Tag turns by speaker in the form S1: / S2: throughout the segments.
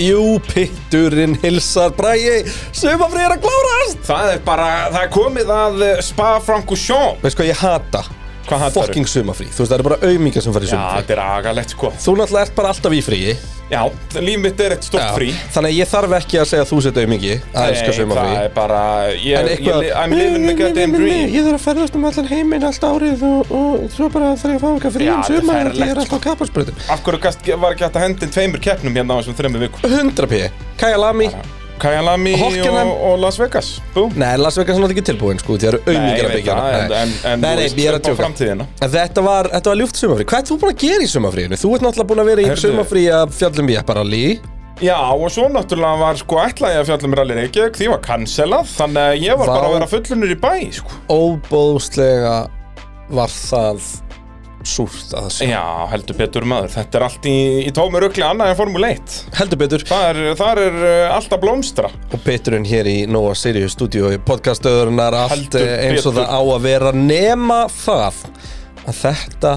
S1: Jú, pitturinn hilsar bræi Sumafrið er að klárast
S2: Það er bara, það er komið að eh, Spa-Francorchamps
S1: Veist hvað ég hata?
S2: Hvað hatarðu?
S1: Fucking sumafrí Þú veist, það eru bara auðmingja sem fara í
S2: Já,
S1: sumafrí
S2: þetta er agalegt sko
S1: Þú náttúrulega ert bara alltaf í fríi
S2: Já, líf mitt er eitt stort frí
S1: Þannig að ég þarf ekki að segja að þú sett auðmingi að elska
S2: það
S1: sumafrí
S2: er bara ég,
S1: En
S2: ég,
S1: eitthvað
S2: li- I'm living the goddamn dream
S1: Ég þarf að ferðast um allan heiminn allt árið og, og svo bara þarf ég að fá eitthvað frí
S2: Já,
S1: um
S2: þetta er
S1: sumar
S2: ferlegt, sko.
S1: Ég er alltaf á kapparsbreytum
S2: Af hverju gast, var ekki hægt að hendin tveimur keppnum hérna á þessum þremmu vikum
S1: 100 p Kaja Lami
S2: Kajalami
S1: Hockenheim.
S2: og, og Las Vegas Bú
S1: Nei, Las Vegas er náttúrulega ekki tilbúin sko, því það eru
S2: Nei,
S1: auðmingar að
S2: ég veit
S1: byggja
S2: það, en, en, en
S1: Nei, nei, ég er að
S2: tjóka
S1: tjóka
S2: framtíðina
S1: En Þetta var, þetta var ljúft sumafrí. Hvað ert þú búin að gera í sumafríinu? Þú ert náttúrulega búin að vera í
S2: Heyrðu.
S1: sumafrí að fjallum við bara lí.
S2: Já, og svo náttúrulega var sko ætlaði ég að fjalla um Rally Reykjavík Því var cancelað, þannig að ég var
S1: Vá.
S2: bara að vera fullunur í bæ, sko
S1: Óbóðslega var það súrt að það sé.
S2: Já, heldur betur maður, þetta er allt í, í tómi rögli annað en Formule 1
S1: Heldur betur.
S2: Þar, þar er uh, allt að blómstra
S1: Og Peturinn hér í Nóa Sirius stúdíu í podcastöðurnar allt
S2: Heldur
S1: eh, eins og
S2: betur.
S1: það á að vera nema það að þetta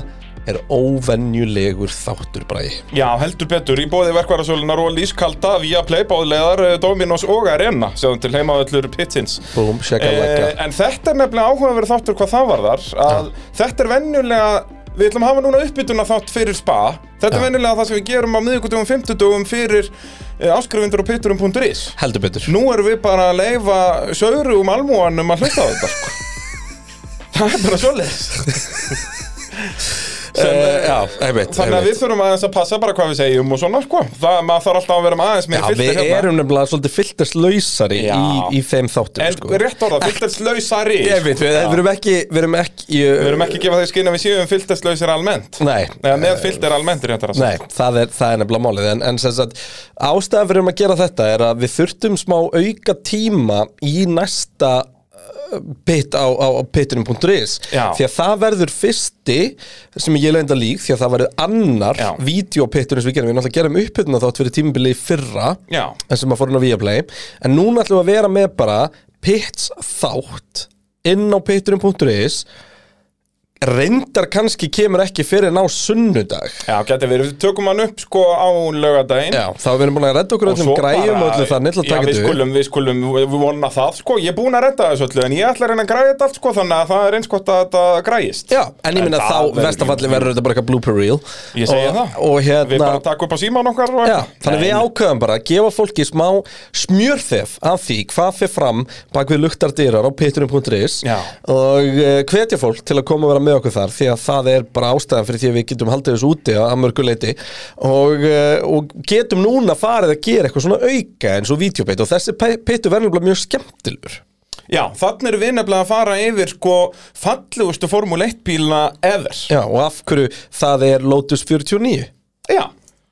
S1: er óvenjulegur þáttur bræði.
S2: Já, heldur betur, í bóði verkvarasölunar og lískalda Vía Playboyleðar, eh, Dominos og Arena Sjáum til heimaðallur Pittins
S1: Búm,
S2: Eh,
S1: shakalaka.
S2: en þetta er nefnilega áhugaverð þáttur hvað það varðar að þetta er venjulega við ætlum að hafa núna uppbytuna þátt fyrir spa þetta er venjulega það sem við gerum á miðvikudögum, fimmtudögum fyrir uh, áskrifundur og pitturum.is
S1: Heldur betur.
S2: nú erum við bara að leifa sögru um almúanum að hlusta á þetta sko. það er bara svoleiðis
S1: Eh,
S2: sem, eh,
S1: Já, einmitt,
S2: Þannig að
S1: einmitt.
S2: við þurfum aðeins að passa bara hvað við segjum og svona sko Það maður þarf alltaf að vera með aðeins
S1: Já,
S2: meira
S1: við
S2: filter hérna
S1: erum nefnilega svolítið filterslausari í,
S2: Já.
S1: í þeim þáttum,
S2: En
S1: sko.
S2: rétt orða, filterslausari
S1: Ég veit, við, við erum ekki, við erum ekki, við
S2: Við erum ekki að gefa þau skinn að við séum filterslausir almennt
S1: Nei.
S2: Eða með filter almennt er þetta
S1: Eh, Nei, það er, það er nefnilega málið en, en sem sagt, ástæðan fyrir um að gera þetta er að við þurftum smá auka tíma í næsta uh, bit á, á, á pitunum.is
S2: Já.
S1: því að það verður fyrsti sem ég leinda lík því að það verður annar
S2: Já.
S1: vídeopitunum sem við gerum við náttúrulega gerum uppbytuna þátt fyrir tímabilið í fyrra
S2: Já.
S1: en sem að fór inn á Viaplay en núna ætlum við að vera með bara pits þátt inn á pitunum.is reyndar kannski kemur ekki fyrir en á sunnudag
S2: Já, geti verið, við tökum hann upp sko á lögadaginn
S1: Já, þá erum við búin að redda okkur öllum græjum og öllu þannig til að
S2: Já,
S1: taka
S2: við
S1: þetta upp
S2: skulum, við skulum, við við vona það sko Ég er búinn að redda þessu öllu en ég ætla að reyna að græja þetta allt sko Þannig að það er eins gott að þetta græjist
S1: Já, en ég minna
S2: En það
S1: þá
S2: verður
S1: vestafalli
S2: ekki-
S1: verður þetta bara eitthvað blooper reel
S2: Ég segi
S1: og,
S2: það
S1: Og
S2: Við
S1: hérna
S2: bara takkum upp á síman okkar og
S1: Já,
S2: eitthvað.
S1: þannig að við
S2: Nei,
S1: ákveðum bara að gefa fólki smá smjörþef af því hvað fyrir fram bak við luktardýrar á pitturum.is
S2: Já.
S1: og uh, hvetja fólk til að koma og vera með okkur þar því að það er bara ástæðan fyrir því að við getum haldið þessu úti að mörguleiti og, uh, og getum núna farið að gera eitthvað svona auka eins og vídeopeit og þessi pittur verður nefnilega mjög skemmtilur
S2: Já, þannig erum við nefnilega að fara yfir sko fallegustu Formule 1 bílna ever
S1: Já, og af hverju það er Lotus 49
S2: Já,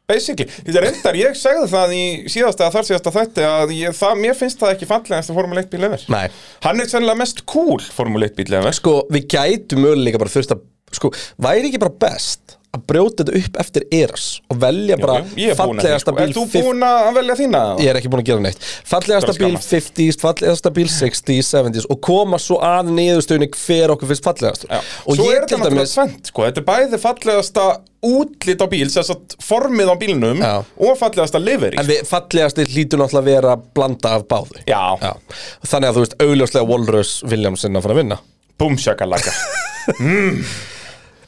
S2: basically Þetta er reyndar, ég segði það í síðasta þar síðasta þætti að ég, það, mér finnst það ekki fallegasta Formule 1 bíl efer
S1: Nei.
S2: Hann er sennilega mest cool Formule 1 bíl efer
S1: Sko, við gætum möguleika bara þurft að Sko, væri ekki bara best að brjóta þetta upp eftir eras og velja bara
S2: Ég er búin að því
S1: fallegasta
S2: sko.
S1: bíl
S2: Er þú
S1: 50
S2: búin að velja þína?
S1: Ég er ekki búin að gera neitt Fallegasta
S2: Það er
S1: bíl
S2: skammast.
S1: 50s, fallegasta bíl 60s, 70s og koma svo að niðurstöðunni hver okkur finnst fallegastur
S2: Já.
S1: Og
S2: Svo
S1: ég
S2: er
S1: til
S2: þetta náttúrulega
S1: dæmis
S2: svent sko. Þetta er bæði fallegasta útlit á bíl sem sagt formið á bílnum
S1: Já.
S2: og fallegasta livery
S1: En við fallegasti hlýtur náttúrulega að vera blanda af báðu
S2: Já, Já.
S1: Já. Þannig að þú veist, augljóslega Walrus Williamson að fara að vinna
S2: búmsjakalaka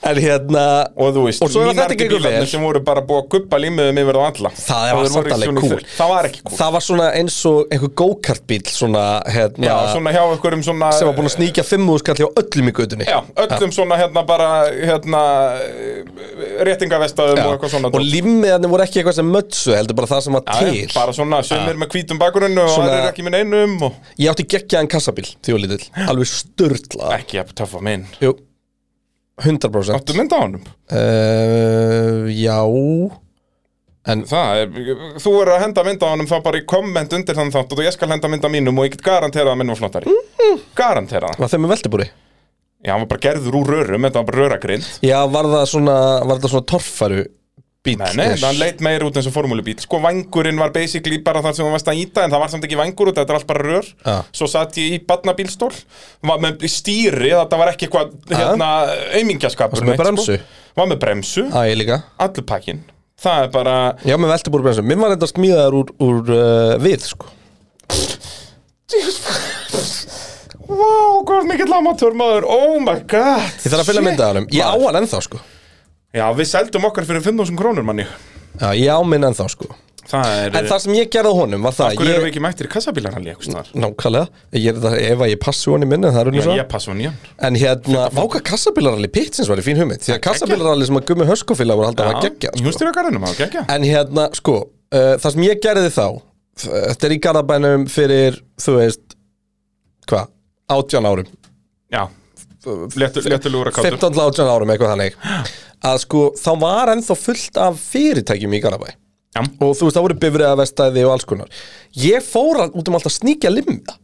S1: En hérna
S2: Og þú veist,
S1: Og svo ef þetta
S2: mínardi
S1: gengur
S2: bílarnir
S1: vel-
S2: sem voru bara búið að guppa límiðum yfir á alla
S1: Það var
S2: Þeir voru
S1: samt
S2: ekki
S1: alveg
S2: svona í
S1: cool.
S2: full- Það var ekki cool
S1: Það var svona eins og einhver go-kart bíl svona, hérna,
S2: Já, svona hjá einhverjum svona
S1: sem var búin að sníkja fimmúðskall hjá öllum í gödunni
S2: Já, öllum svona hérna bara hérna eh, réttingavestaðum og eitthvað svona
S1: og limmiðarnir voru ekki eitthvað sem mötsu heldur bara það sem var
S2: Já, já,
S1: til
S2: bara svona sumir með hvítum bakgrunn og
S1: Svona-
S2: það er ekki minn einum og
S1: ég átti geggjaðan kassabíl því og lítill alveg störtla
S2: ekki að töffa minn
S1: Jú, 100%
S2: Áttu mynd á honum
S1: uh, já en
S2: Það er, þú verður að henda mynd á honum þá bara í komment undir þann þátt og ég skal henda mynd á mínum og ég get garantera að minn var flottari
S1: Mhm.
S2: Garantera það
S1: var þeim með veltibúri?
S2: Já, hann var bara gerður úr rörum, þetta var bara röragrind
S1: já, var það svona, var það svona torfaru bíl
S2: Nei, nei, hann leit meir út eins og formúlubíl Sko, vangurinn var basically bara þar sem hann varst að íta En það var samt ekki vangur út, þetta er allt bara rör
S1: Já.
S2: Svo satt ég í barnabílstól Var með stýri, þetta var ekki eitthvað Hérna, aumingjaskapur
S1: Varstu með
S2: neitt,
S1: bremsu?
S2: Var með bremsu,
S1: Æ, líka
S2: allur pakkin það er bara
S1: Já, með veltubúrbremsum, minn var þetta smíðaður úr, úr uh, við, sko
S2: Vá, hvað er mikill amatör maður, oh my god
S1: Ég þarf að finna
S2: Shit,
S1: myndað af honum, ég á
S2: maður.
S1: hann ennþá, sko
S2: Já, við seldum okkar fyrir 5.000 krónur manni
S1: Já, ég á minn ennþá, sko
S2: Það er,
S1: En það sem ég gerði á honum var það
S2: hver
S1: ég,
S2: erum við ekki mættir í kassabílar hann líka Já,
S1: Nákvæmlega, ég er það, ef að ég passi honum minni, það er unni svo
S2: ég passa hann í hann
S1: En hérna, váka kassabilaralli pittsins var í fín hugmynd Því að kassabilaralli sem að gummi höskofíla voru haldið að
S2: Já,
S1: gegja,
S2: í
S1: sko
S2: hústýragarðinum, það var geggja
S1: En hérna, sko, uh, það sem ég gerði þá Þetta er í garabænum fyrir, þú veist, hvað, 18 árum
S2: Já, léttu- léttulegur að kátur
S1: 15-18 árum eitthvað þannig að sko þá var ennþá fullt af fyrirtækjum í Garabæ
S2: Já.
S1: og þú veist það voru bifriða vestæði og alls konar ég fór að, út um allt að sníkja limmiða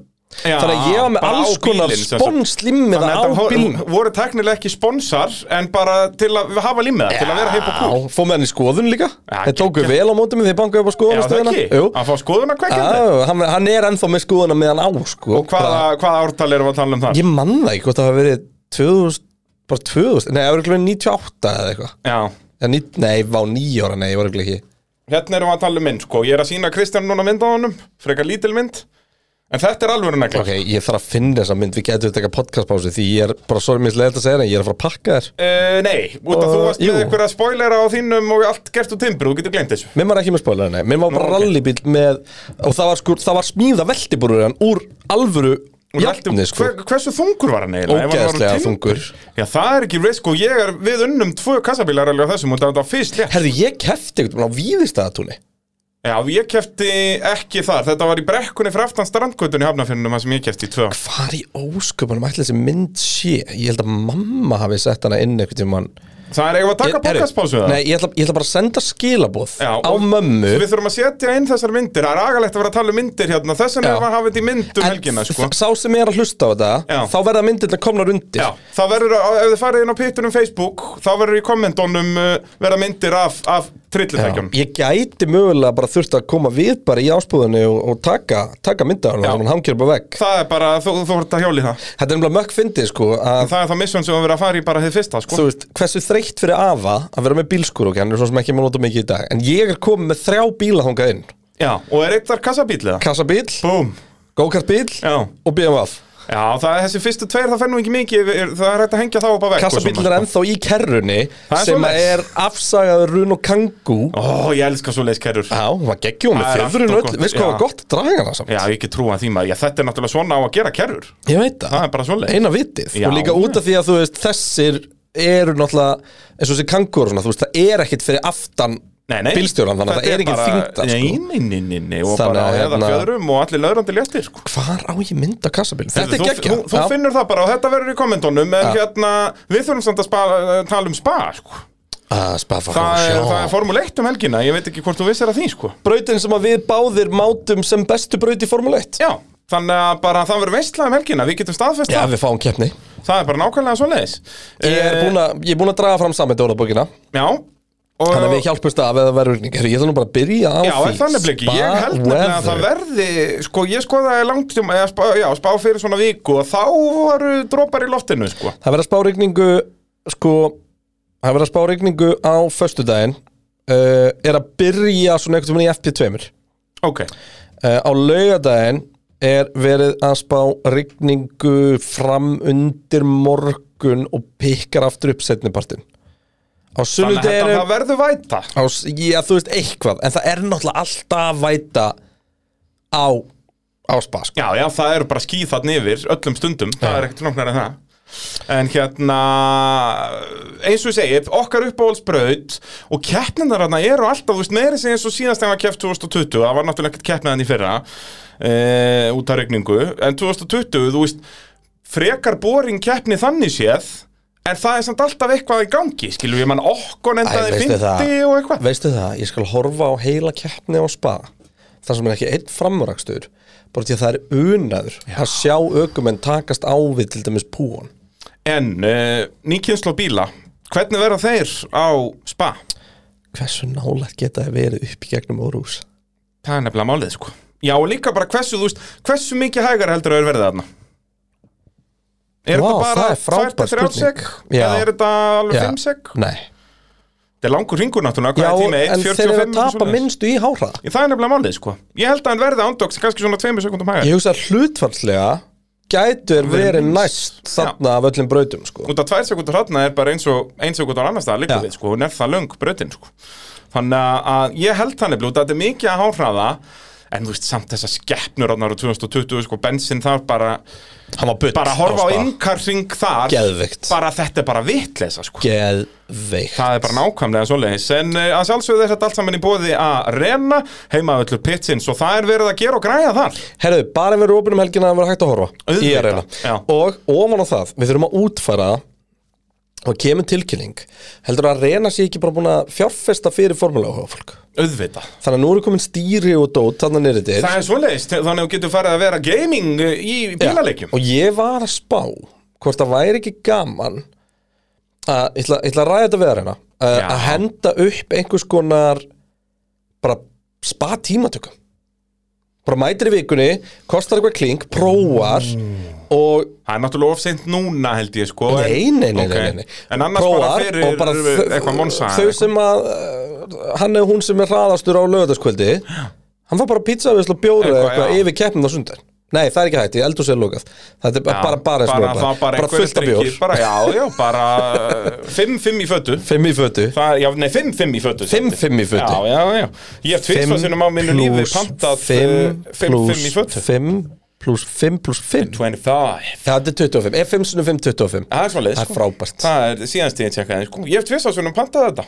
S2: Já,
S1: þannig að ég var með
S2: bara á
S1: alls konar
S2: bílinn, sem sagt.
S1: spons limmiða
S2: Þannig
S1: á
S2: að þetta
S1: bílnum
S2: ho- voru teknilega ekki sponsar en bara til að hafa límiða, til að vera heip og kúl
S1: Já, fór með hann í skoðun líka
S2: Já,
S1: Þeir tóku
S2: geggjað.
S1: vel á móti með því bankaði upp á
S2: Já, það
S1: skoðunastöðina
S2: ekki,
S1: Jú.
S2: að fá skoðuna kvekkjandi
S1: Já, hann, hann er ennþá með skoðuna með hann á sko.
S2: Og hvaða, hvaða ártal erum við að tala um það?
S1: Ég man það ekki hvort það hafa verið 2000, bara 2000, nei, það var 98 eða eitthvað
S2: Já,
S1: Eða ný- Nei, vá nýjóra, nei, ég var ekki ekki
S2: hérna erum við að tala um mynd sko Ég er að sína Kristján núna mynd á honum, frekar lítil mynd En þetta er alvöru negla
S1: Ok, ég þarf að finna þessa mynd, við getum þetta podcastpásu því ég er bara sorry mislega að segja það, en ég er að fara að pakka þér
S2: Uh, nei, út af
S1: Uh,
S2: þú varst
S1: jú.
S2: með einhverja spoilera á þínum og allt gert úr timbur, þú getur glemt þessu
S1: Minn var ekki með spoiler, nei, minn var bara
S2: Nú, ok.
S1: rallybíl með, og það var sko, það var smíða veltiburðan úr alvöru
S2: Hún
S1: jafni,
S2: velti-
S1: sko
S2: hver, Hversu þungur var hann eiginlega? Ef hann var úr
S1: Ógeðslega
S2: timbur?
S1: þungur.
S2: Já, það er ekki risk og ég er við unnum tvö kassabílar alveg á þessum og þetta var fyrst létt
S1: Herði, ég kefti eitthvað á víðistæðatúni
S2: Já, ég kefti ekki þar, þetta var í brekkunni fyrir aftan strandgötunni hafnafinnum það sem ég kefti í tvö ár.
S1: Hvar í ósköpunum ætli þessi mynd sé? Ég held að mamma hafi sett hana inn einhvern tímann
S2: Það er eigum að taka
S1: Ég- herri,
S2: podcastpásu það
S1: Nei, ég ætla, ég ætla bara að senda skilaboð
S2: Já,
S1: á
S2: og
S1: mömmu
S2: Við þurfum að setja inn þessar myndir, það er agalegt að vera að tala um myndir hérna Þess vegna
S1: Já.
S2: var hafið í mynd um helgina, sko
S1: sá sem er að hlusta á þetta,
S2: Já.
S1: þá verða myndirna komnar undir
S2: Já, þá verður, að- ef þið farið inn á pittunum Facebook þá verður í kommentunum uh, verða myndir af, af trillutækjunum
S1: Ég gæti mögulega bara þurft að koma við bara í áspúðunni og, og taka, taka mynda hann
S2: Já.
S1: og hann hangir upp á vegg
S2: Það er bara, þú, þú voru að hjóli það
S1: Þetta er nefnilega mökk fyndið sko að
S2: Það er það missun sem við verðum að fara í bara þið fyrsta, sko
S1: þú veist, hversu þreytt fyrir afa að vera með bílskur ok, hann er svo sem ekki maður nota mikið í dag en ég er komið með þrjá bíla þangað inn
S2: Já, og er eitt þar kassabílið það?
S1: kassabíl,
S2: Búm
S1: go-kartbíl
S2: Já,
S1: og BMW
S2: já það er þessi fyrstu tveir, það fer nú ekki mikið er, Það er hægt að hengja þá upp sko, að vekk
S1: kassabíl er ennþá í kerrunni
S2: Það er
S1: sem
S2: svoleiðis.
S1: er afsagaður run og kangu
S2: Ó, ég elska svo leiskerur
S1: Já, hún var geggjum
S2: Það
S1: með
S2: er
S1: fjöðrun
S2: alltaf
S1: öll,
S2: gott,
S1: veist hvað
S2: já.
S1: var gott að draga hana samt
S2: Já, ég ekki trúa því maður, já, þetta er náttúrulega svona á að gera kerrur
S1: Ég veit það,
S2: Það er bara svoleiðis.
S1: Eina vitið,
S2: Já.
S1: og líka út af því að þú veist þessir eru náttúrulega eins og þessi kangur og svona, þú veist, það er ekkit fyrir aftan bílstjóran, þannig að það er engin bara... þyngda
S2: Nei,
S1: sko.
S2: nei, nei, nei, nei, og
S1: Þannig
S2: bara
S1: að,
S2: eða
S1: hérna-
S2: fjöðrum og allir löðrandi léttir, sko
S1: Hvar á ég mynd á kassabíl? Þetta er
S2: Þú-
S1: geggja
S2: Þú, þú finnur það bara og þetta verður í kommentunum En
S1: Já.
S2: hérna, við þurfum samt að spa, tala um spa sko.
S1: Ah, Spafa
S2: það, er, það er
S1: Rosjón
S2: Formule 1 um helgina Ég veit ekki hvort þú vissir að því sko.
S1: Brautin sem að við báðir mátum sem bestu braut í Formule 1
S2: Já, þannig að bara það verður veistla um helgina Við getum staðfest
S1: Já,
S2: það
S1: við fáum keppni
S2: Það er bara nákvæmlega svoleiðis
S1: Ég er
S2: Eh.
S1: búinn að, ég er búin að draga fram saman dórabókina
S2: Já og,
S1: Þannig að við hjálpumst af eða verður ykkur Ég ætla nú bara að byrja á
S2: Já,
S1: því
S2: er þannig bleki, ég held nefnilega að það verði Sko, ég skoðaði langt um eða, spá, Já, spá fyrir svona viku Og þá voru dropar í loftinu, sko
S1: Það verður að spá rigningu sko, það verður að spá rigningu á föstudaginn uh, er að byrja svona einhvern veginn í FP2 uh,
S2: Ok,
S1: Eh, á laugadaginn er verið að spá rigningu fram undir morgun og pikkar aftur upp setnipartin á
S2: þannig að þetta-
S1: sunnudeginum
S2: það verður væta
S1: á, s- já, þú veist eitthvað, en það er náttúrulega alltaf væta á á spa, sko
S2: Já, já, það eru bara skýð þarna yfir öllum stundum, það er ekkert flóknar en það En hérna, eins og ég segi, okkar uppáhaldsbraut og keppninar þarna eru alltaf, þú veist, meiri sem eins og síðast þegar var keppt 2020, það var náttúrulega ekkert keppniðan í fyrra e, út af regningu, en 2020, þú veist, frekar boring keppni þannig séð, en það er samt alltaf eitthvað í gangi, skilur við, mann okkon endaði
S1: veistu það?
S2: 50 og eitthvað
S1: Veistu það, ég skal horfa á heila keppni á spa þar sem er ekki einn framrakstur bara því að það er unaður að sjá ökumenn takast á við til dæmis púan
S2: En uh, nýkynslu bíla, hvernig verða þeir á spa?
S1: hversu nálægt geta það verið upp í gegnum Órús
S2: Það er nefnilega málið sko Já og líka bara hversu, þú veist, hversu mikið hægara heldur að er verið þarna Er
S1: Vá,
S2: þetta
S1: það
S2: bara
S1: er frábær
S2: 2-3
S1: spurning.
S2: sek?
S1: Já.
S2: Eða er þetta alveg 5 sek?
S1: Nei,
S2: Þetta er langur ringur náttúrulega, hvað
S1: Já,
S2: er tími 1,
S1: en þeir eru
S2: 45
S1: að
S2: eitthvað
S1: tapa
S2: svoleiðis?
S1: minnstu í hára
S2: Ég, Það er nefnilega málið, sko Ég held að hann verði ándokks kannski svona 2 sekundum hægar
S1: Ég hugsa að hlutfallslega gætu er verið næst þarna af öllum brautum sko.
S2: Út af 2 sekundur hraðna er bara eins og 1 sekundur annars það liggur
S1: Já.
S2: við, sko Hún er það löng brötin, sko Þannig að- að ég held það nefnilega, út að þetta er mikið að háhraða En þú veist, samt þessar skeppnur á 2020, sko, bensin þar bara
S1: Hann var butt
S2: Bara horfa á yngarring þar
S1: Geðveikt.
S2: Bara þetta er bara vitleysa, sko
S1: Geðveikt
S2: Það er bara nákvæmlega svoleiðis En eh, að sjálfsögðu þess að allt saman í bóði að reyna heima öllur pitsins og það er verið að gera og græja þar
S1: Herðu, bara ef við erum opinum helgina að vera hægt að horfa
S2: Auðvitað,
S1: Í að reyna
S2: já.
S1: Og ofan á það, við þurfum að útfæra og kemur tilkynning heldur að reyna sér ekki bara búin að fjárfesta fyrir formulega fólk
S2: Auðvitað
S1: Þannig að nú eru komin stýri og dót þannig nýrið til
S2: Það er svoleiðis, te- þannig að þú getur farið að vera gaming eh, í bílaleikjum
S1: Og ég var að spá hvort það væri ekki gaman að, ég ætla, ég ætla að ræða þetta við að reyna að,
S2: Já.
S1: að henda upp einhvers konar bara spa tímatökum bara mætir í vikunni, kostar eitthvað klink prófar
S2: Mm.
S1: og
S2: Það er náttúrulega ofseint núna held ég sko en-
S1: Nei, nei, nei,
S2: Ok.
S1: nei, nei, nei.
S2: En annars bara fyrir eh,
S1: og bara þau-
S2: eitthvað monsa
S1: Þau sem að, uh, hann eða hún sem er hraðastur á lögðarskvöldi Hann fá bara pizza við slá bjóra
S2: Eitthvað,
S1: eitthvað, eitthvað
S2: já.
S1: yfir keppnum á sundar Nei, það er ekki hægt, ég eldur sér lokað Það er bara bara eins og
S2: bara, bara,
S1: lögblað.
S2: bara,
S1: bara fullt af bjór
S2: bara, Já, já, bara 5-5 í fötu
S1: Fimm í fötu
S2: Það, já, nei, 5-5 í fötu
S1: Fimm,
S2: sagði.
S1: fimm í fötu
S2: Já, já, já Ég hef
S1: Fimm
S2: tvisvarsinum á minnu lífi
S1: plús
S2: pantað eh,
S1: Fimm
S2: 5-5 í fötu
S1: plús Fimm plús fimm plús fimm
S2: 25
S1: Það er 25, ef 5 sinum 5, 25
S2: Það er svolítið
S1: Það er frábært
S2: Það er síðanst ég tjekkaði sko. Ég hef tvisað svona pantað þetta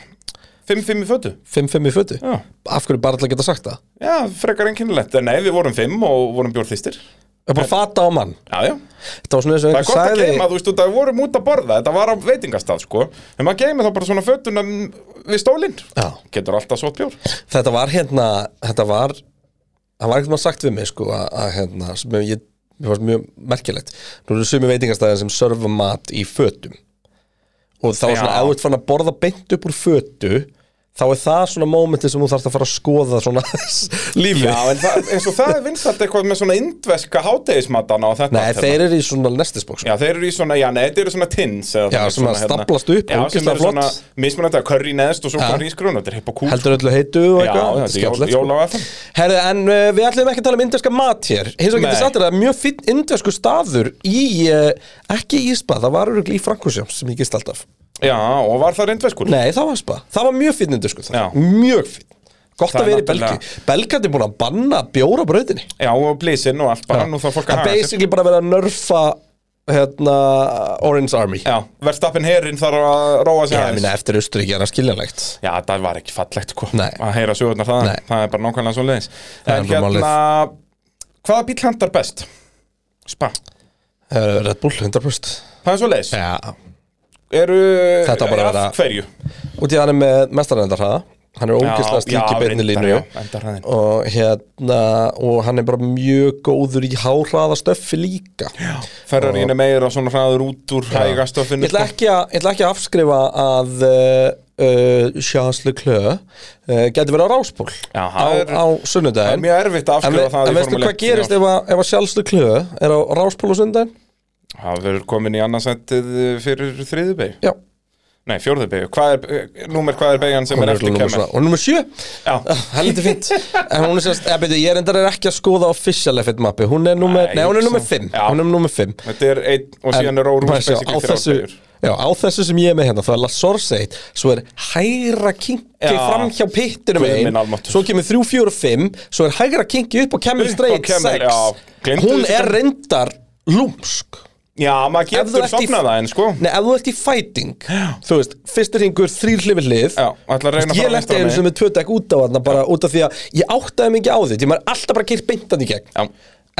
S2: 5-5 í fötu
S1: 5, 5 í fötu
S2: Já.
S1: Af hverju bara alltaf geta sagt það?
S2: Já, frekar einkennilegt Nei, við vorum 5 og vorum bjórþýstir
S1: Það er bara fata á mann
S2: Já, já
S1: Þetta var svona eins og
S2: Það er
S1: einhver
S2: gott að
S1: sagði
S2: geima, þú veist, út að við vorum út að borða Þetta var á veitingastað, sko En maður geima þá bara svona fötuna mm, við stólinn
S1: Já.
S2: Getur alltaf svott bjór
S1: Þetta var hérna, þetta var það var eitthvað sagt við mig sko að, að hérna, sem ég, mér fannst mjög merkilegt nú eru sumi veitingastæðin sem serva mat í fötum og þá er svona
S2: Já.
S1: áður fann að borða beint upp úr fötu þá er það svona mómenti sem þú þarfst að fara að skoða svona lífi
S2: Já, en það, eins og það er vinsalt eitthvað með svona indveska hátegismatana og þetta
S1: Nei,
S2: allt
S1: þeir eru í svona lestisbóks
S2: Já, þeir eru í svona, já, nei, þetta eru svona tins eða
S1: Já,
S2: þannig,
S1: sem að staplast upp,
S2: Já, sem
S1: ógeðslega
S2: eru svona
S1: flott.
S2: mismunandi að curry neðst og svo
S1: Já.
S2: curry í skrún Þetta er hipp og kúl
S1: heldur öllu heitu og
S2: Já,
S1: eitthvað
S2: já, þetta er jól-
S1: skemmtilegt, sko.
S2: jól á FM.
S1: Herðu, en uh, við ætlum ekki að tala um indverska mat hér hins og
S2: Nei.
S1: getur sagt þér að það er mjög finn indversku staður í, uh, ekki í spa það var örugglega í Frankúsjám sem ég gist alltaf
S2: Já, og var það sko. reyndveskur?
S1: nei, það var spa, það var mjög finn indversku
S2: Já.
S1: þar mjög finn, gott að
S2: Það er
S1: vera í Belgi Belgandi er búin að banna bjóra brautinni
S2: Já, og blísinn og allt bara, nú þarf fólk að
S1: það
S2: haga sér
S1: basically bara verið að nörfa hérna, Orange Army
S2: Já, verðstappin herinn þarf að róa sig
S1: ég minna eftir Austuríki er það skiljanlegt
S2: Já, það var ekki fallegt, sko
S1: Nei.
S2: Að heyra sögurnar það,
S1: Nei.
S2: það er bara nákvæmlega svo leiðis
S1: Það er
S2: En
S1: bara
S2: hérna, hvaða bíl hendar best? Spa,
S1: Herðu, Red Bull 100%
S2: það er svo leiðis
S1: já.
S2: Eru,
S1: Þetta bara
S2: af
S1: vera-
S2: hverju?
S1: og því að hann er með mestarændarhraða hann er ógeðslega slík í beinni línu já.
S2: Endarhæðin
S1: og hérna og hann er bara mjög góður í háhraðastöffi líka já.
S2: Ferrarín er meira svona hraður út úr hægastöfinu
S1: ég ætla ekki að, ég ætla ekki að afskrifa að uh, uh, Charles Leclerc uh, geti verið á ráspól
S2: Já,
S1: á,
S2: það er-
S1: á
S2: Það er
S1: sunnudaginn
S2: mjög erfitt að
S1: en,
S2: afskrifa
S1: en, en
S2: það í
S1: veistu
S2: Formule
S1: hvað
S2: 1 í ár.
S1: gerist ef, að, ef að Charles Leclerc er á ráspól á sunnudaginn
S2: Það verður komin í annarsættið fyrir þriðu beig
S1: já
S2: Nei, fjórðu beig Hvað er, eh, númer hvað er beigan sem
S1: Hún
S2: er
S1: er
S2: eftir
S1: númer
S2: kemur?
S1: svona- og nummer sjö
S2: Já,
S1: heldur fint en hún er sérst, eða byrju, ég er endar ekki að skoða official effett mappi, hún er nummer,
S2: Nei,
S1: nei, hún er
S2: ég
S1: nummer
S2: hugsa-
S1: 5
S2: Já.
S1: hún er nummer 5
S2: þetta er einn og síðan er
S1: Bara
S2: órum
S1: sjá, á þessu, já, á þessu sem ég er með hérna þá er La Sorse 1, svo er hægra kinki
S2: Já.
S1: fram hjá pittinum
S2: Guð minn
S1: einn
S2: almáttugur.
S1: svo kemur 3, 4 og 5 svo er hægra kinki upp og kemur
S2: Upp á
S1: straight
S2: Kemmel,
S1: 6
S2: já. Gleymdu
S1: hún
S2: þessu
S1: er
S2: sem-
S1: reyndar lúmsk
S2: Já, maður
S1: Ef þú
S2: getur
S1: ert í-
S2: sopnað það en sko
S1: Nei, ef þú ert í fighting þú veist, fyrsti hringur, þrýr hlifir hlið
S2: Já, ætla að reyna
S1: ég
S2: að fara
S1: lefti
S2: mestra
S1: einu sem
S2: með
S1: er tvö dekk út á þarna bara út af því að ég áttaði mikið á því því maður er alltaf bara keirt beintan í gegn
S2: Já.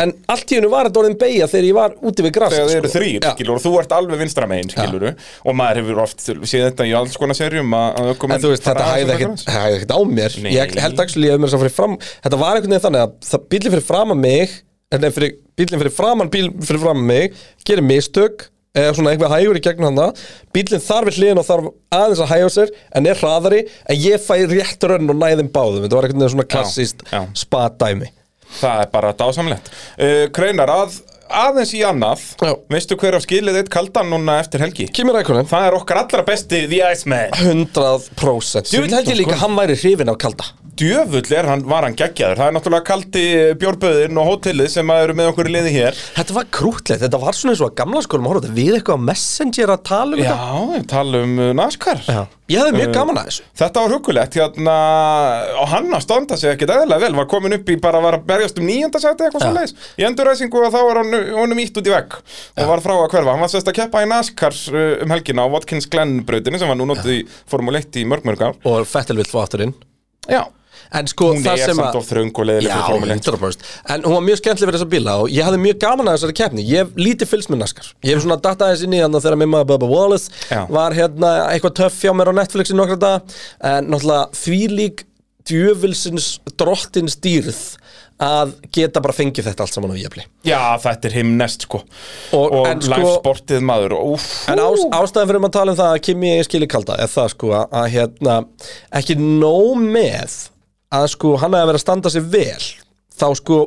S1: en allt í hennu var þetta orðin beigja þegar ég var úti við sko. græs
S2: Þegar þið eru þrýr, skilur, og þú ert alveg vinstra megin, skilur Og maður hefur oft séð þetta í alls konar serjum að- að ökumenn
S1: En þú veist,
S2: fara
S1: þetta hæði
S2: aðeins upp að
S1: ekkert,
S2: gras.
S1: hæði ekkert á mér
S2: Nei.
S1: Ég held actually, ég hef mér svo fyrir fram Þetta var einhvern veginn þannig að það bíli fyrir fram að mig eh, Nei, fyrir, bílinn fyrir framan bíl fyrir fram að mig Gerir mistök Eða svona eitthvað hægur í gegnum hann Bílinn þarf við hliðin og þarf aðeins að hægja á sér En er hraðari En ég fæ rétt rönn og næðin báðum Þetta var einhvern veginn svona klassist
S2: já.
S1: spa dæmi
S2: Það er bara dásamlegt uh, Kreinar að aðeins í annað
S1: Já.
S2: Veistu hver á skilið eitt kaldan núna eftir helgi?
S1: Kimi Rækonen
S2: Það er okkar allra besti The Iceman
S1: 100% Jú vil held ég líka að hann væri hrifin af kalda
S2: Djöfull er hann, var hann geggjaður Það er náttúrulega kaldi bjórböðin og hótelið sem að eru með okkur í liði hér
S1: Þetta var krútlegt, þetta var svona eins og að gamla skólum horfðu við eitthvað á messenger að tala um
S2: Já,
S1: þetta
S2: við talum uh, NASCAR
S1: Ég hafði
S2: Eh.
S1: mjög gaman að þessu
S2: Þetta var hugulegt, hérna, og hann að standa sig ekkit eðlilega vel, var komin upp í bara var að berjast um nýjönda seti
S1: Já.
S2: eitthvað ja. svoleiðis í enduræsingu og þá var hann, honum ítt út í vegg og var frá að hverfa, hann var sérst að keppa í NASCAR uh, um helgina á Watkins Glen brautinni sem var nú notið í Formule 1 í mörg mörg ár
S1: Og Fettel vill fá afturinn
S2: Já,
S1: En sko
S2: hún
S1: það
S2: er
S1: sem
S2: samt
S1: að
S2: of þröng og leiðileg
S1: Já,
S2: fyrir Formule 1
S1: 100% En hún var mjög skemmtileg fyrir þessa bíla og ég hafði mjög gaman að þessari keppni Ég hef lítið fylgst með naskar Ég hef svona datta aðeins inn í hann þegar mér maður Bubba Wallace
S2: Já.
S1: var hérna eitthvað töff hjá mér á Netflix í nokkra dag en náttúrulega þvílík djöfilsins drottins dýrð að geta bara fengið þetta allt saman á jöfli
S2: Já, þetta er himnest sko
S1: Og-
S2: og,
S1: en
S2: og
S1: sko-
S2: livesportið maður og úff
S1: En ás, ástæðan fyrir maður að tala um það að Kimi eigi skilið kalda er það sko að, að hérna, ekki nóg með að sko hann hefði verið að standa sig vel þá sko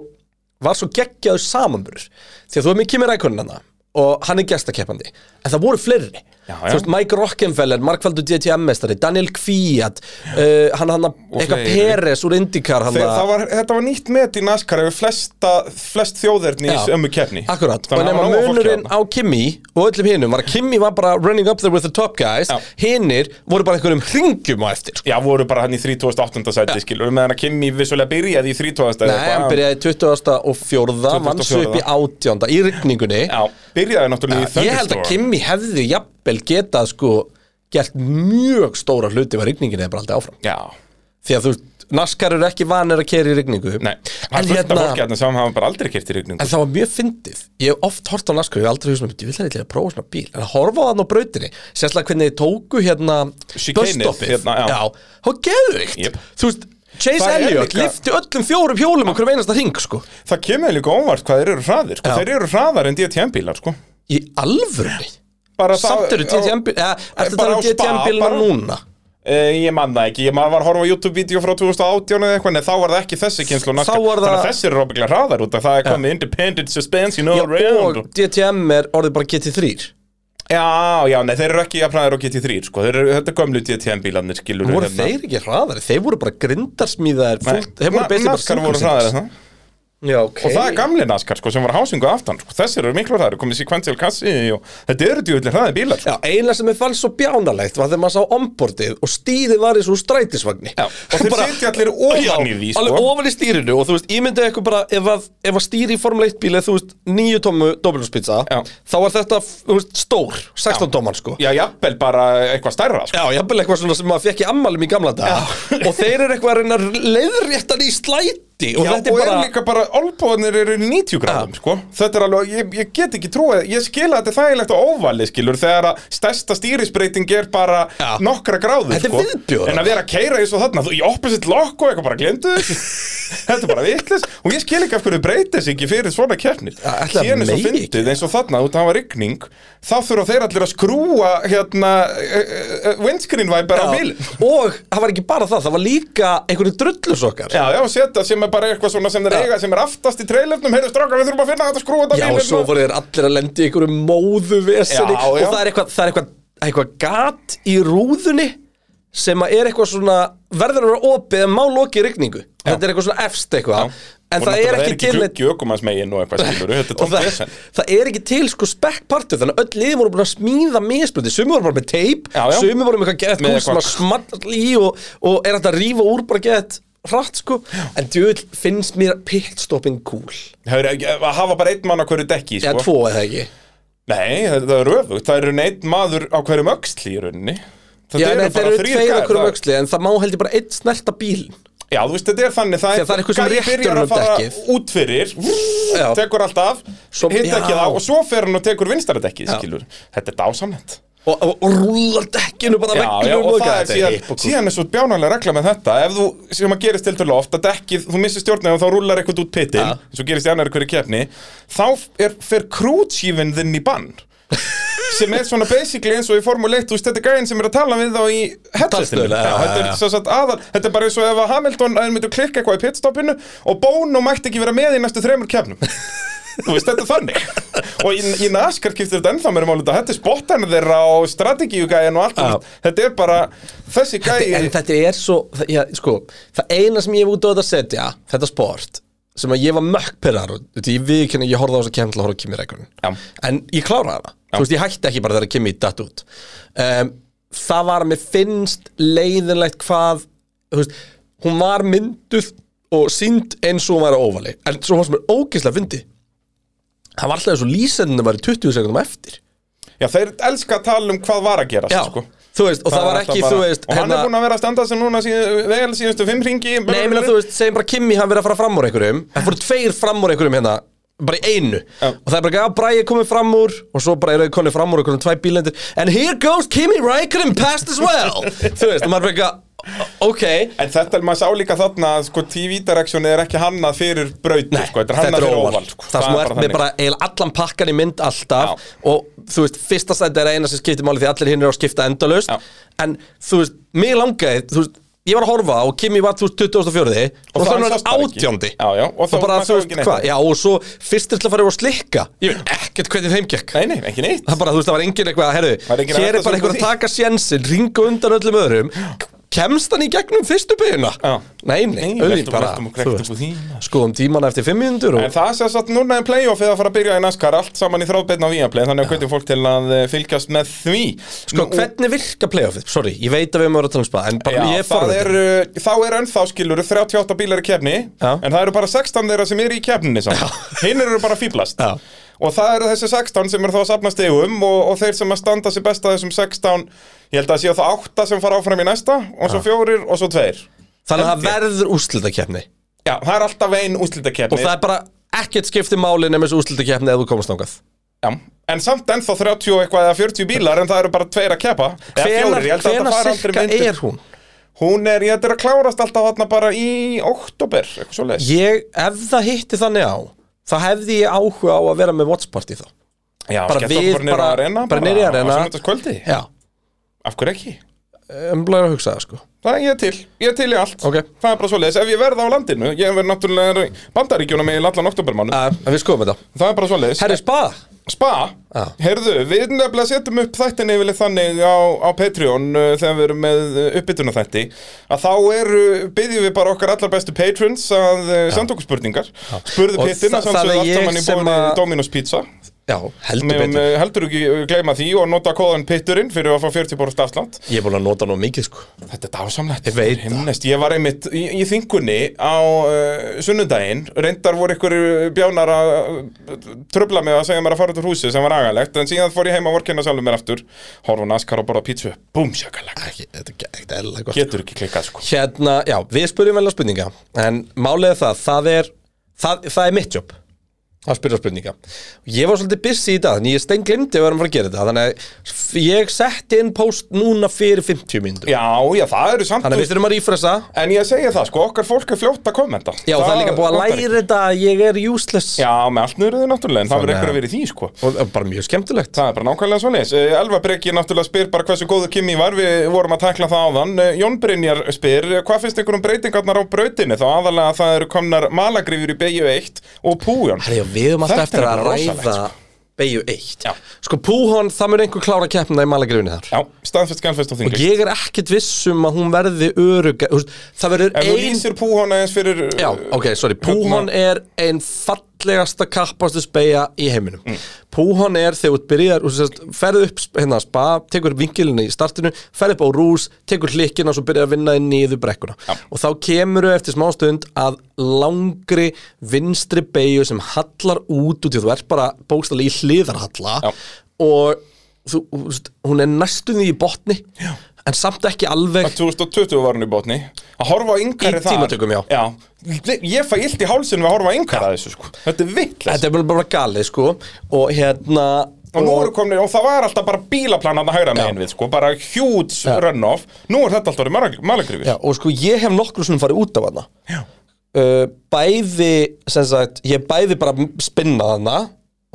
S1: var svo geggjaður samanburður því að þú er með Kimi Rækonin hann og hann er gestakeppandi en það voru fleiri
S2: Já, já.
S1: Þú veist, Mike Rockenfeller, Markvaldur DTM-mestari Daniel Kvíat uh, hann hann eitthvað
S2: fleiri.
S1: Peres úr Indycar hann
S2: Þegar það var, þetta var nýtt met í NASCAR ef flesta, flest þjóðerni í
S1: Já.
S2: ömmu keppni
S1: Akkurat, og
S2: Þannig að
S1: nema
S2: það var nóg af fólki
S1: munurinn
S2: þarna.
S1: á Kimi og öllum hinnum var að Kimi var bara running up there with the top guys
S2: Já.
S1: hinnir voru bara einhverjum hringjum á eftir sko.
S2: Já, voru bara hann í 38. sæti, skilur, meðan að Kimi vissulega byrjaði í 30. eða
S1: Nei,
S2: eitthvað.
S1: hann byrjaði 24. vann svo upp í 18. í rigningunni
S2: Já, byrjaði náttúrulega í
S1: Ég held að Kimi hefði jafnvel getað sko gert mjög stóra hluti var rigningin eða bara aldrei áfram
S2: Já,
S1: því að þú, naskar eru ekki vanir að kera í rigningu
S2: nei,
S1: en
S2: hann fullt af fólki
S1: hérna
S2: hérna sem hafa bara aldrei kert í rigningu
S1: En það var mjög fyndið, ég hef oft hort á naskar og ég hef aldrei hugsað mér, ég vil það eitthvað að prófa svona bíl en að horfa á þann á brautinni, sérstaklega hvernig þið tóku hérna
S2: Chicaneið,
S1: busstoppið.
S2: hérna, já.
S1: já, þá geðvikt
S2: Jep.
S1: Þú veist, Chase
S2: Það er
S1: Elliot
S2: líka-
S1: lifti öllum fjórum hjólum okkur einasta hring, sko
S2: Það kemur líka óvart hvað þeir eru hraðir, sko,
S1: Já.
S2: þeir eru hraðar en DTM-bílar, sko
S1: Í alvörni
S2: Bara það-
S1: Samt eru
S2: á-
S1: DTM-bíl Eða, ertu að
S2: Bara
S1: tala um
S2: á Spa,
S1: DTM-bílina
S2: bara.
S1: núna?
S2: Eh, Ég man það ekki, ég maður var að horfa á YouTube-vídeó frá 2018 eða eitthvað, en þá var það ekki þessi kynslu
S1: Þá
S2: NASCAR,
S1: var það-
S2: þannig að þessir eru ábygglega hraðar út að það er komið independent suspension all
S1: Já,
S2: around
S1: og DTM er orðið bara GT3
S2: Já, já, nei, þeir eru ekki jafnæðir á GT3, sko, þeir eru, þetta er gömlu DTM-bílarnir, skilur
S1: Voru þeir ekki hraðari? Þeir voru bara grindarsmíðaðir fullt- Þeir voru basically bara
S2: Naskar voru
S1: single
S2: hraðir
S1: seaters.
S2: það
S1: Já, ok
S2: Og það er gamli naskar sko sem var hásingu aftan sko. Þessir eru miklu hraðir, komið sequential kassi og þetta eru djúvillir hraði bílar sko.
S1: Já, eiginlega sem ég fannst svo bjánalegt var þegar maður sá ombordið og stýðið var eins og úr strætisvagni
S2: Já, og þeir sitja allir ofan í því, sko.
S1: Alveg ofan í stýrinu og þú veist, ímyndið ykkur bara ef að, ef að stýri í Formule 1 bíli, þú veist, nýju tómu dobbelspizza
S2: Já.
S1: Þá var þetta, þú veist, stór, 16 tóman sko
S2: Já, jafnvel bara eitthvað stærra sko.
S1: Já, jafnvel eitthvað svona sem maður fekk í ammálum í gamla dag Og þeir eru eitthvað að reyna að leiðrétta því í slæti Og
S2: Já, og
S1: þetta er bara
S2: er líka bara, olbóðanir eru í 90 gráðum, sko. Þetta er alveg, ég, ég get ekki trúið, ég skil að þetta er þægilegt og óvali, skilur, þegar að stærsta stýrisbreyting er bara
S1: Já.
S2: nokkra gráður,
S1: Þetta er
S2: sko.
S1: viðbjóður.
S2: En að vera að keira eins og þarna, þú, í opposite lock og eitthvað bara glemdu þessu. þetta er bara vitlis og ég skil ekki af hverju breytis ekki fyrir svona keppnir.
S1: Já, ætli það
S2: Síðan er svo
S1: megi ekki.
S2: fyndið, eins og þarna, út að hafa rigning, þá þurfa þeir allir að skrúa, hérna, eh, eh, windscreen viper á bílinn.
S1: Já, Og það var ekki bara það, það var líka einhverju drullusokkar
S2: Já, já, setja sem er bara eitthvað svona sem þeir
S1: Já.
S2: eiga sem er aftast í treylefnum, heyrðu strákar, við þurfum að finna þetta skrúa þetta
S1: Já,
S2: bílinn
S1: og svo
S2: og-
S1: voru þeir allir að lendi í einhverju móðu veseni
S2: Já,
S1: og
S2: já.
S1: það er eitthvað, það er eitthvað, eitthvað gat í rúðunni sem að er eitthvað svona verður að vera opið en má loki í rigningu þetta er eitthvað svona efst eitthvað en
S2: Og
S1: það er
S2: náttúrulega
S1: ekki til neitt-
S2: gluggi ökumannsmegin og eitthvað skilur þetta er
S1: og
S2: tómt
S1: það,
S2: vesen
S1: það er ekki til sko spekkpartur þannig að öll liði voru búin að smíða misbruti sumi voru bara með teip,
S2: Já, já.
S1: sumi voru með eitthvað gett
S2: Með
S1: kúl sem að
S2: eitthvað-
S1: small í og, og er hægt að rífa úr bara gett hratt sko, en djöðl finnst mér pitstopping cool,
S2: Hefur ekki- að hafa bara einn mann á hverju dekki
S1: eða
S2: sko.
S1: tvo eða ekki
S2: Nei, það, það er öfugt, það eru einn maður á hverjum öxli í rauninni Þetta
S1: Já, nei, þeir eru
S2: þrír
S1: tveir
S2: gæjar,
S1: okkur um
S2: það-
S1: öxli En það má heldur bara einn snerta bíl
S2: Já, þú veist, þetta er þannig, það
S1: Því að það er eitthvað sem
S2: gæi
S1: réttur
S2: byrjar
S1: honum
S2: að fara
S1: dekkið.
S2: út fyrir,
S1: Já.
S2: tekur allt af,
S1: Svo-
S2: hitt ekki
S1: já.
S2: þá og svo fer hann og tekur vinstara dekkið, skilur Þetta er dásamlegt
S1: Og, og, og rúla dekkinu bara
S2: Já, já,
S1: veggjum
S2: og það er um sko. síðan,
S1: síðan
S2: síðan er svo bjánalega regla með þetta ef þú, sem að gerist til til oft að dekkið, þú missir stjórnum og þá rúlar eitthvað út pittin
S1: Ja.
S2: eins og gerist í annar hverju keppni þá er, fer krútsífinn þinn í bann sem er svona basically eins og í Formule 1 þú veist þetta er gæðin sem er að tala við þá í headsetinu
S1: Talstöðina,
S2: Já,
S1: ja,
S2: þetta,
S1: ja,
S2: er
S1: ja.
S2: sem sagt aðal- þetta er bara eins og ef að Hamilton að þeir myndu klikka eitthvað í pitstoppinu og Bono mætti ekki vera með í næstu þremur keppnum Þú veist, þetta er þannig Og í, í NASCAR kiptir þetta ennþá mér máli út að Þetta er spottan þeirra og strategíugæðin og allt
S1: Já.
S2: ah. Þetta er bara, þessi gæði
S1: En þetta er svo, það- já, sko, það eina sem ég hef út á þetta að setja, þetta sport, sem að ég var mökk pyrrar, þetta ég viðkynna, ég horfði á þess að kemla til að horfa á Kimi Rækun.
S2: Já.
S1: En ég kláraði hana, þú veist, ég hætti ekki bara þegar Kimi datt út. Um, það var að mér finnst leiðinlegt hvað, þú veist, hún var mynduð og sínd eins og hún væri óvali. En svo fannst mér ógeðslega fyndi. Það var alltaf eins og lýsendinu væri 20 sekundum eftir.
S2: Já, þeir elska að tala um hvað var að gerast
S1: Já,
S2: sko.
S1: þú veist, og það, var
S2: alltaf
S1: ekki,
S2: bara-
S1: þú veist, hérna-
S2: Og hann er búin að vera að standa sem núna síð, vel síðustu fimm ringi
S1: Nei, ég meina þú veist, segjum bara Kimi hann verið að fara fram úr einhverjum Það fóru tveir fram úr einhverjum hérna Bara í einu
S2: Já.
S1: Og það er bara ekki að Bræði komið fram úr Og svo bara eru konið fram úr einhverjum tvæ bílendir And here goes Kimi Rækjum past as well Þú veist, og maður bara ekki að Ok
S2: En þetta er maður sá líka þarna að sko, TV directionið er ekki hannað fyrir brautu
S1: Nei,
S2: sko, Þetta er hannað fyrir óval sko.
S1: Það sem þú
S2: er
S1: ert með
S2: þannig.
S1: bara eiginlega allan pakkan í mynd alltaf
S2: Já.
S1: Og þú veist, fyrsta sæti er eina sem skiptir máli Því allir hinn eru að skipta endalaust
S2: Já.
S1: En þú veist, mig langaði Þú veist, ég var að horfa og Kimi var þú veist 2004 Og, og
S2: það
S1: þannig
S2: sást
S1: var
S2: bara ekki.
S1: átjóndi
S2: Já, já, og
S1: og
S2: þá
S1: bara
S2: maður sá
S1: þú veist
S2: ekki neitt.
S1: hvað, já og svo fyrstir til að fara yfir að slikka ég veit ekkert hvernig þeim gekk
S2: Nei, nei, ekki neitt
S1: það er bara, þú veist, það var engin eitthvað,
S2: Það er
S1: herru
S2: enginn að
S1: hér er bara
S2: elta sig
S1: einhver
S2: upp á
S1: að taka sjensin ringa undan öllum öðrum kemst hann í gegnum fyrstu bygguna
S2: Já.
S1: nei, nei, auðvitað bara
S2: um
S1: þú veist,
S2: bara
S1: skoðum tíman Sko, um eftir fimm mínútur
S2: En
S1: og
S2: það sem satt núna er playoffið að fara að byrja í NASCAR allt saman í þráðbeinna á Viaplay þannig að hvetjum fólk til að eh, fylgjast með því
S1: sko, hvernig virka playoffið, sorry, ég veit að við erum að vera að tala um spa en bara,
S2: Já,
S1: ég er
S2: það er,
S1: forvitinn
S2: uh, þá er ennþá skilur 38 bílar í kefni
S1: Já.
S2: en það eru bara 16 þeirra sem eru í kefninni hinn eru bara að fíblast
S1: Já.
S2: og það eru þessi 16 sem eru þá að safna stegum og, og þeir sem að standa sér best að þessum 16 ég held að séu það 8 sem fara áfram í næsta og svo fjórir og svo tveir
S1: þannig að það verður úrslitakefni
S2: Já, það er alltaf ein
S1: og
S2: úslitakefni
S1: það er bara ekkert skipti máli nema þessu úrslitakefni ef þú komast nángað
S2: Já, en samt ennþá 30 og eitthvað eða 40 bílar en það eru bara tveir að kepa eða
S1: hvenar,
S2: fjórir, ég held að þetta
S1: hvenar
S2: fara aldrei
S1: sirka
S2: myndir
S1: er hún?
S2: Hún er, ég þetta er að klárast alltaf þarna bara í oktober, eitthvað svo
S1: ég, ef það hitti þannig á þá hefði ég áhuga á að vera með watchparty þá
S2: Já,
S1: bara
S2: skella
S1: við
S2: okkur niður
S1: bara-
S2: á arena,
S1: bara niður í arena.
S2: á sunnudagskvöldi,
S1: já,
S2: af hverju ekki?
S1: umlega að hugsa það sko
S2: Það er ég er til, ég er til í allt
S1: Ok.
S2: Það er bara svoleiðis, ef ég verð á landinu Ég verð náttúrulega í bandaríkjunum í allan oktobermannu
S1: uh, við skoðum þetta
S2: Það er bara svoleiðis
S1: herri spaða
S2: Spa,
S1: Já.
S2: heyrðu, við nefnilega setjum upp þættin yfirleitt þannig á, á Patreon uh, þegar við erum með uppbytuna þætti að þá eru, byggjum við bara okkar allar bestu patrons að uh, senda okkur spurningar
S1: Og
S2: spurðu pittina
S1: það-
S2: samt
S1: það er
S2: sem allt
S1: ég
S2: saman í
S1: sem
S2: bóði
S1: að-
S2: Dominos Pizza
S1: já, heldur
S2: Megum,
S1: betur
S2: uh, heldur ekki uh, gleyma því og nota kóðan pitturinn fyrir að fá 40% afslátt
S1: ég er búin að nota nú mikið sko
S2: Þetta er dásamlegt
S1: Ég veit það.
S2: Himnest, Ég var einmitt í, í þingunni á uh, sunnudaginn Reyndar voru ykkur bjánar að uh, tröfla mig að segja mér að fara út úr húsi sem var agalegt En síðan fór ég heim að vorkenna sjálfum mér aftur Horfa naskar og borða pítsu Búm, sjökkalega
S1: ekki, þetta er ekki- ekki eðlilega gott
S2: Getur ekki klikkað sko
S1: hérna, já, við spurjum velja spurninga en málið er það, það er það, það er mitt jobb að spyrja spurninga ég var svolítið busy í dag, en ég stein glimti að vera að fara að gera þetta þannig að ég setti inn post núna fyrir 50 mínútur
S2: Já, já, það eru samt
S1: þannig að við þurfum að rífresa
S2: En ég segi það sko, okkar fólk er fljótt að kommenta
S1: Já, það, er líka búið að
S2: vantar ekki.
S1: læra þetta að ég er useless
S2: Já, með allt nöruðu náttúrulega En það verður
S1: Þannig
S2: ykkur
S1: að-
S2: að vera í því sko
S1: Og það er bara mjög skemmtilegt
S2: Það er bara nákvæmlega svo leis. Elva Breki náttúrulega spyr bara hversu góðu Kimi var, við vorum að tækla það áðan. Eh, Jón Brynjar spyr, eh, hvað finnst ykkur um breytingarnar á brautinni? Þá aðalega að það eru komnar malagrifur í BU1 og Pújón.
S1: Herri, og við höfum alltaf
S2: Þetta er
S1: eftir að
S2: bara rosalegt, sko.
S1: ræða Beiju 1
S2: Já.
S1: Sko Púhon, það mun einhver klára keppna í malagrifinni þar
S2: Já, staðfest, gælfest og þingri.
S1: Ég er ekkit viss um að hún verði öruga þú veist, Það verður
S2: Ef þú
S1: ein
S2: lýsir Pújón aðeins fyrir... eh,
S1: Já, ok, sorry, Púhon er ein fallegasta kappastu speja í heiminum
S2: Mm.
S1: Púhon er þegar þú byrjar og sérst, ferð upp sp- hérna spa, tekur vinkilinu í startinu ferð upp á rús, tekur hlikkina og svo byrjar að vinna inn niður brekkuna og þá kemur þau eftir smá stund að langri vinstri beiju sem hallar út út í þú ert bara bókstæli í hliðarhalla
S2: Já.
S1: og þú, þú veist, hún er næstum því í botni Já. en samt ekki alveg
S2: 2020 var hún í botni. Að horfa á yngari
S1: Í tímatökum, já.
S2: Já. Ég fæ illt í hálsinn við að horfa á yngara þessu, sko. Þetta er vitleis.
S1: Þetta er bara bara galið sko og hérna
S2: Og nú eru komnir, og það var alltaf bara bílaplan að hægra megin við, sko, bara huge runoff. Nú er þetta alltaf orðið malagrifur.
S1: Já, og sko ég hef nokkru svona farið út af hana
S2: Já.
S1: uh, Bæði, sem sagt, ég bæði bara spinnað hana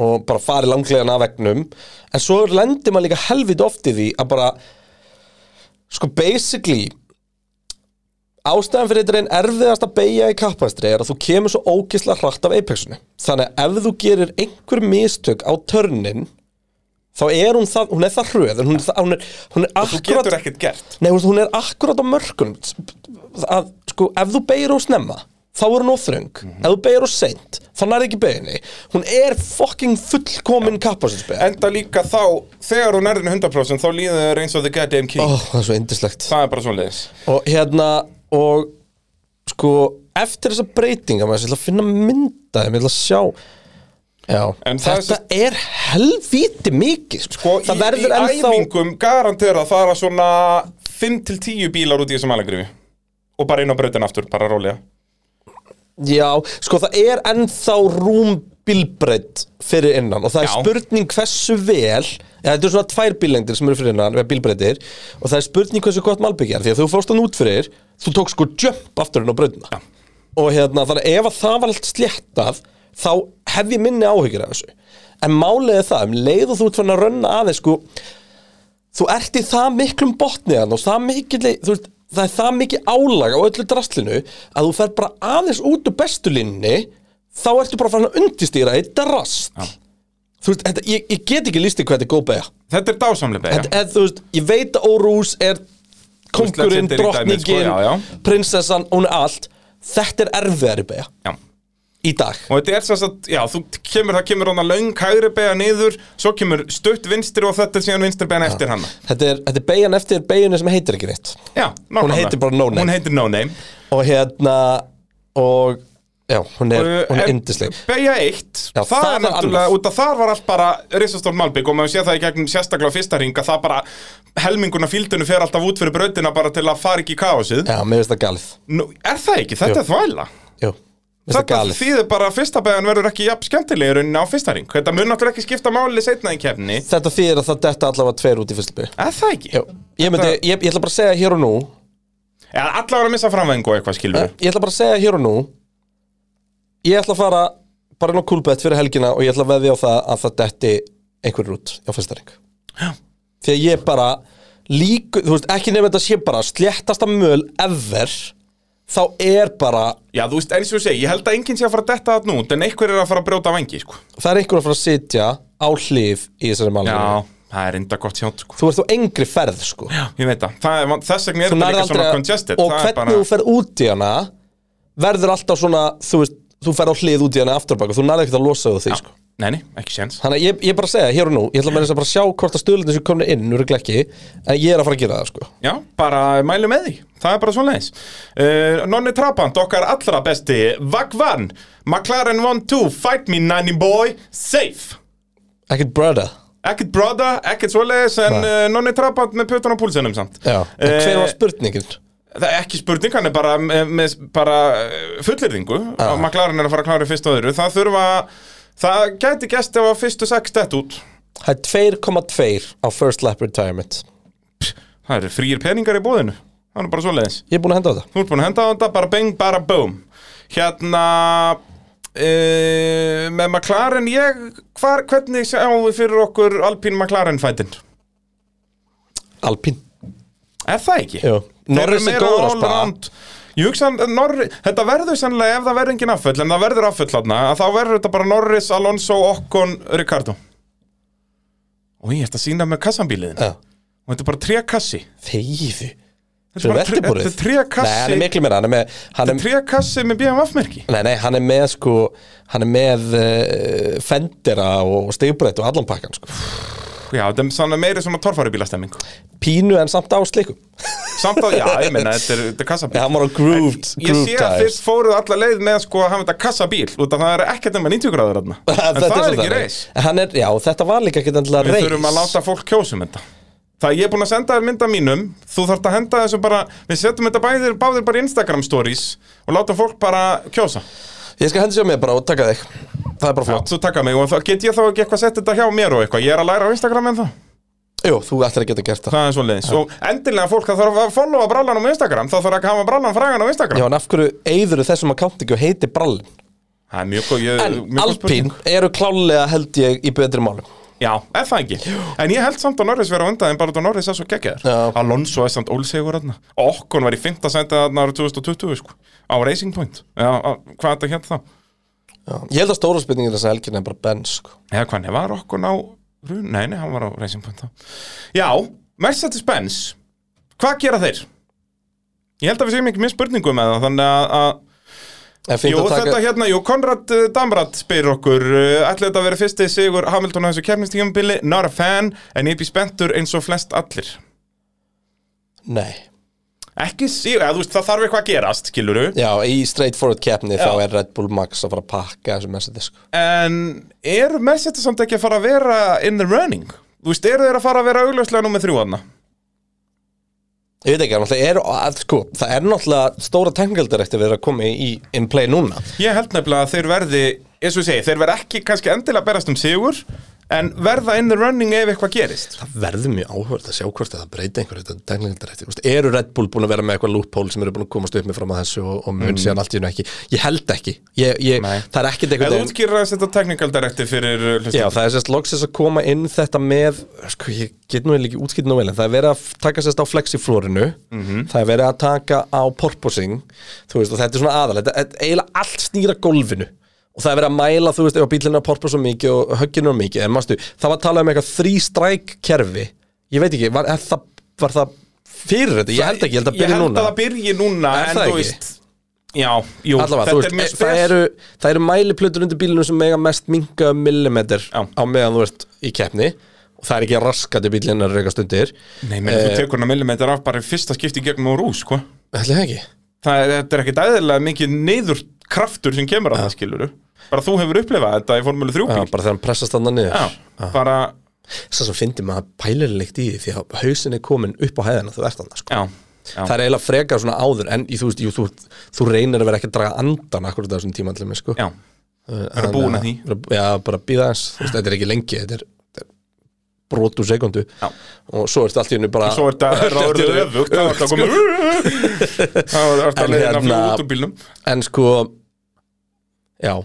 S1: og bara farið langlegan af vegnum en svo lendir maður líka helvit oft í því að bara sko basically Ástæðan fyrir þetta er einn erfiðast að beigja í kappastri er að þú kemur svo ógisla hratt af Apexinu. Þannig að ef þú gerir einhver mistök á törnin þá er hún það, hún er það hröð en hún er, það, hún er, hún er
S2: Þú
S1: akkurat
S2: getur ekkert gert
S1: Nei, þú veist, hún er akkurat á mörkunum að, sko, ef þú beigir og snemma þá er hún óþröng,
S2: Mhm.
S1: ef þú beigir og seint þá nær ekki beiginni, hún er fucking fullkomin kappasinsbeig
S2: Enda líka þá, þegar þú nærðin 100% þá líður þér eins og the goddamn king
S1: Ó, það er svo indislegt
S2: Það er bara svona leiðis
S1: og hérna, og sko, eftir þessa breytinga maður, ég ætla að finna mynda þeim, ég ætla að sjá Já,
S2: En það er
S1: þetta er helvíti mikið sko.
S2: Sko,
S1: það
S2: í,
S1: verður
S2: í
S1: ennþá
S2: æfingum garantera að fara svona 5-10 bílar út í þessum alagrifi Og bara inn á brautin aftur, bara rólega
S1: Já, sko það er ennþá rúm bílbreytt fyrir innan og það er
S2: Já.
S1: spurning hversu vel ja, þetta er svona tvær bílengdir sem eru fyrir innan eða bílbreyttir og það er spurning hversu gott malbyggjar því að þú fórst hann út fyrir þú tók sko jump aftur inn á breytna og hérna þannig að ef að það var allt sléttað þá hef ég minni áhyggjur af þessu en málið er það, um leið og þú ert fann að rönna aðeins sko þú ert í það miklum botniðan og það mikil þú veist, það er það mikið álag á öllu drastlinu að þú fer bara aðeins út úr bestu línni þá ertu bara farin að undistýra í drast þú veist, þetta, ég, ég get ekki lísti hvað þetta er góð beja
S2: Þetta er dásamlega
S1: þetta,
S2: beigja
S1: eð, þú veist, ég veit að Órús er kongurinn,
S2: Úrslitadeildin í dæmið, sko,
S1: drottningin
S2: já, já.
S1: prinsessan, hún er allt þetta er erfiðari beja
S2: Já
S1: í dag
S2: Og þetta er sess að, já, þú kemur, það kemur hana löng hægri beigja niður Svo kemur stutt vinstri og þetta er síðan vinstri beigjan eftir hana
S1: þetta er, þetta er beigjan eftir beigjunni sem heitir ekki neitt
S2: Já, nákvæmlega
S1: heitir bara No Name.
S2: Hún heitir No Name
S1: og hérna og já, hún er, hún er
S2: En
S1: yndisleg
S2: Beygja Eh, eitt,
S1: Já,
S2: það,
S1: það
S2: er
S1: er
S2: náttúrulega,
S1: annað.
S2: út af þar var allt bara risastórt malbygg og maður sé það í gegnum sérstaklega á fyrsta ringa, það bara helminguna fíldinu fer alltaf út fyrir brautina bara til að fara ekki í kaosið.
S1: Já, mér finnst það galið
S2: Nú, er það ekki? Þetta
S1: Jú.
S2: er þvæla.
S1: Jú, mér finnst það
S2: Þetta
S1: galið
S2: þýðir bara að fyrsta beigjan verður ekki jafn skemmtilegur en á fyrsta ring. Þetta mun náttúrulega ekki skipta máli setna í kefni.
S1: Þetta þýðir að það detta allavega tveir út í fyrstu byrju
S2: Er það ekki?
S1: Jú, ég myndi, ég, ég ætla bara að segja hér og nú
S2: Eða allavega að missa framvengu og eitthvað skilur.
S1: Ég ætla bara að segja hér og nú Ég ætla að fara bara inn á kúlbett fyrir helgina og ég ætla að veðja á það að það detti einhverjur út á fyrsta ring
S2: Já.
S1: Því að ég bara líku, þú veist, ekki nefnir þetta sé bara sléttasta möl ever þá er bara,
S2: Já, þú veist, eins og ég segi, ég held að enginn sé að fara að detta það nút, en einhver er að fara að brjóta vengi, sko.
S1: það er einhver að fara að sitja á hlif í þessari málinu
S2: Já, það er enda gott sjátt, sko.
S1: Þú ert á engri ferð, sko
S2: Já, ég veit það, það er, þess vegna
S1: þú
S2: er þetta
S1: nærð
S2: líka
S1: aldrei
S2: svona
S1: að-
S2: congested
S1: og
S2: það er
S1: hvernig þú fer út í hana verður alltaf svona þú veist, þú fer á hlið út í hana afturbaka þú nærði ekkert að losa þú því sko.
S2: Nei, nei, ekki séns
S1: þannig að ég, ég bara segja hér og nú ég ætla meira þess að bara sjá hvort að stöðlunni sem komni inn nú er ekki, en ég er að fara að gera það sko.
S2: Já, bara mælu með því, það er bara svona leins uh, Nonni Trabant, okkar allra besti Vagvan, McLaren 1-2 Fight me nanny boy, safe
S1: ekkert bröða
S2: Ekkert brother, ekkert svoleiðis en
S1: Nei.
S2: uh, Nonni Trabant með pötun á púlsinum samt
S1: uh,
S2: Eh,
S1: hver var spurningin?
S2: Það er ekki spurning, hann er bara með, með bara fullirðingu og McLaren er að fara að klára í fyrstu og öðru Það þurfa, það gæti gæst ef að fyrstu sex dett út
S1: það er 2,2 á first lap retirement
S2: Það eru frýir peningar í bóðinu, það er bara svoleiðis
S1: ég er búin að henda á það
S2: Þú ert búin að henda á þetta, bara beng, bara boom Hérna e, Með McLaren ég, hvar, Hvernig sjáum við fyrir okkur Alpín McLaren fætin?
S1: Alpín
S2: Er það ekki?
S1: Jú. Norris er góður að spara
S2: Ég hugsa, að Norris, þetta verður sennilega ef það verður engin afföll, en það verður afföll hátna, að þá verður þetta bara Norris, Alonso, Okkon, Ricardo. Og ég ert að sína með kassanbíliðin.
S1: Já.
S2: Og þetta er bara tre kassi.
S1: þegiðu
S2: Þetta
S1: sem
S2: er bara tre-
S1: verðiborið
S2: þetta er tre
S1: nei, hann er
S2: kassi,
S1: miklu meira hann er með, hann er,
S2: tre kassi með BMF-merki.
S1: Nei, nei, hann er með sko hann er með uh, fendera og stigbreytt og allan pakkan sko.
S2: Já, þetta er svona meiri svona torfari bílastemming.
S1: pínu en samt á slikum
S2: Samt að, já, ég meina, þetta er, þetta er kassabíl
S1: Nei, hann var á grooved,
S2: Ég
S1: grooved
S2: sé að
S1: tires
S2: fyrst fóruð alla leið með sko að hafa þetta kassabíl Út af það er ekkert nema 90 gráður þarna En
S1: Þetta
S2: það er
S1: svo
S2: ekki
S1: þannig.
S2: reis
S1: En hann er, Já, þetta var líka ekki endilega
S2: Við
S1: reis
S2: þurfum að láta fólk kjósum þetta Það ég er búinn að senda þér mynda mínum Þú þarft að henda þessu bara Við setjum þetta bæðir, báðir bara í Instagram stories Og láta fólk bara kjósa
S1: Ég skal hendi sér mér bara og taka þig Það er bara
S2: Já,
S1: flott
S2: Þú taka mig og þá get ég þá ekki eitthvað sett þetta hjá mér og eitthvað Ég er að læra á Instagram en það
S1: Jú, þú ættir að geta gert það
S2: Það er svo leiðis Og endilega fólk það þarf að followa brallan á Instagram Það þarf ekki að hafa brallan frægan á
S1: Já,
S2: Instagram
S1: en af hverju eyður þessum account ekki og heiti brallin
S2: Það er mjög góð ég-
S1: En
S2: mjög góð spurning.
S1: Alpín eru klálega held ég í betri málum
S2: Já, er það ekki? En ég held samt að Norris vera á undan en bara út að Norris er svo
S1: Já.
S2: geggjaður Alonso er samt ólsegur þarna Okkon var í 5. sendið þarna ára 2020 sko, á Racing Point Já, á, hvað er þetta hérna þá?
S1: Já. Ég held að stóra spurningin þess að helgina er bara Ben sko.
S2: Eða hvað, nei, var Okkon á Run? Nei, nei, hann var á Racing Point þá Já, Mercedes-Benz Hvað gera þeir? Ég held að við segjum ekki mér spurningum með um það þannig að, að
S1: En fínt
S2: Jú,
S1: að taka-
S2: þetta hérna, jú, Konrad uh, Damrat spyr okkur uh, Ætli þetta að vera fyrsti sigur Hamilton á þessu kemnistíðumbili? Not a fan, en ég bý spenntur eins og flest allir
S1: Nei,
S2: Ekki síður, eða þú veist, það þarf eitthvað að gerast, skilur
S1: já, í straightforward keppni
S2: Já.
S1: þá er Red Bull Max að fara að pakka þessu Mercedes sko.
S2: En eru Mercedes samt ekki að fara að vera in the running? Þú veist, eru þeir að fara að vera augljóslega númer þrjú aðna?
S1: Ég veit ekki, það er, náttúrulega- er, sko, það er náttúrulega stóra tengjaldir eftir að vera að koma í in play núna
S2: Ég held nefnilega að þeir verði, eins og ég segi, þeir verði ekki kannski endilega að berast um sigur En verða in the running ef eitthvað gerist
S1: Það verður mjög áhverð að sjá hvort að það breyti einhverju þetta tenglingar eftir. Vist, eru Red Bull búin að vera með eitthvað loophole sem eru búin að komast upp með fram að þessu og, og mun síðan allt í hennu ekki? Ég held ekki. Ég, ég,
S2: Mm. Nei.
S1: það er ekkit
S2: Eða
S1: eitthvað
S2: þú útskýrur aðeins þetta technical directive fyrir uh,
S1: Já,
S2: hlustendur.
S1: það er sérst loksins að koma inn þetta með, sko, ég get nú eiginlega ekki útskipt nú vel, en það er verið að f- taka sérst á flexiflórinu,
S2: Mhm.
S1: það er verið að taka á porposing, þú veist, og þetta er svona aðal, þetta þetta- eiginlega allt snýra gólfinu og það er verið að mæla, þú veist, ef að bílinn er að porposa mikið og högginu er mikið, en mástu, það var að tala um eitthvað þrý stræk kerfi, ég veit ekki, var, er það, var það fyrir þetta, ég held ekki, ég held að byrja
S2: Ég held
S1: núna.
S2: að það byrji núna
S1: Er
S2: en
S1: það
S2: þú
S1: ekki?
S2: veist Já, jú,
S1: Allavega,
S2: þetta
S1: þú
S2: er mjög
S1: veist, e,
S2: spes
S1: það eru, það eru mæliplötur undir bílunum sem mega mest minga um millimetr
S2: Já.
S1: á meðan þú ert í keppni og það er ekki raskandi bílinn að reyka stundir
S2: Nei, menn,
S1: Eh.
S2: þú tekur hana millimeter af bara í fyrsta skipti í gegnum úr úr, sko
S1: Ætli það ekki?
S2: það, er- Þetta er ekkit æðilega mikið neyður kraftur sem kemur að það skilur Bara þú hefur upplifað þetta í Formule 3
S1: Já,
S2: bíl
S1: bara þegar hann pressast þannig niður
S2: Já, bara,
S1: Svo sem fyndi maður pælilegt í því því að hausin er komin upp á hæðina þú ert hann sko.
S2: já, já
S1: Það er eiginlega frekar svona áður en í- þú, veist, jú, þú, þú reynir að vera ekki að draga andan akkur þetta þessum tíma allir með sko.
S2: Já,
S1: Vera
S2: búin að því.
S1: Já, bara býða eins, þú veist, þetta er ekki lengi Þetta er, þetta er brotu sekundu
S2: Já.
S1: Og svo ertu allt í hennu bara
S2: svo er þetta ráður öfugt Það var þetta komið Það var þetta
S1: En
S2: leiðin að fljúga
S1: hérna-
S2: út úr bílnum
S1: En sko Já,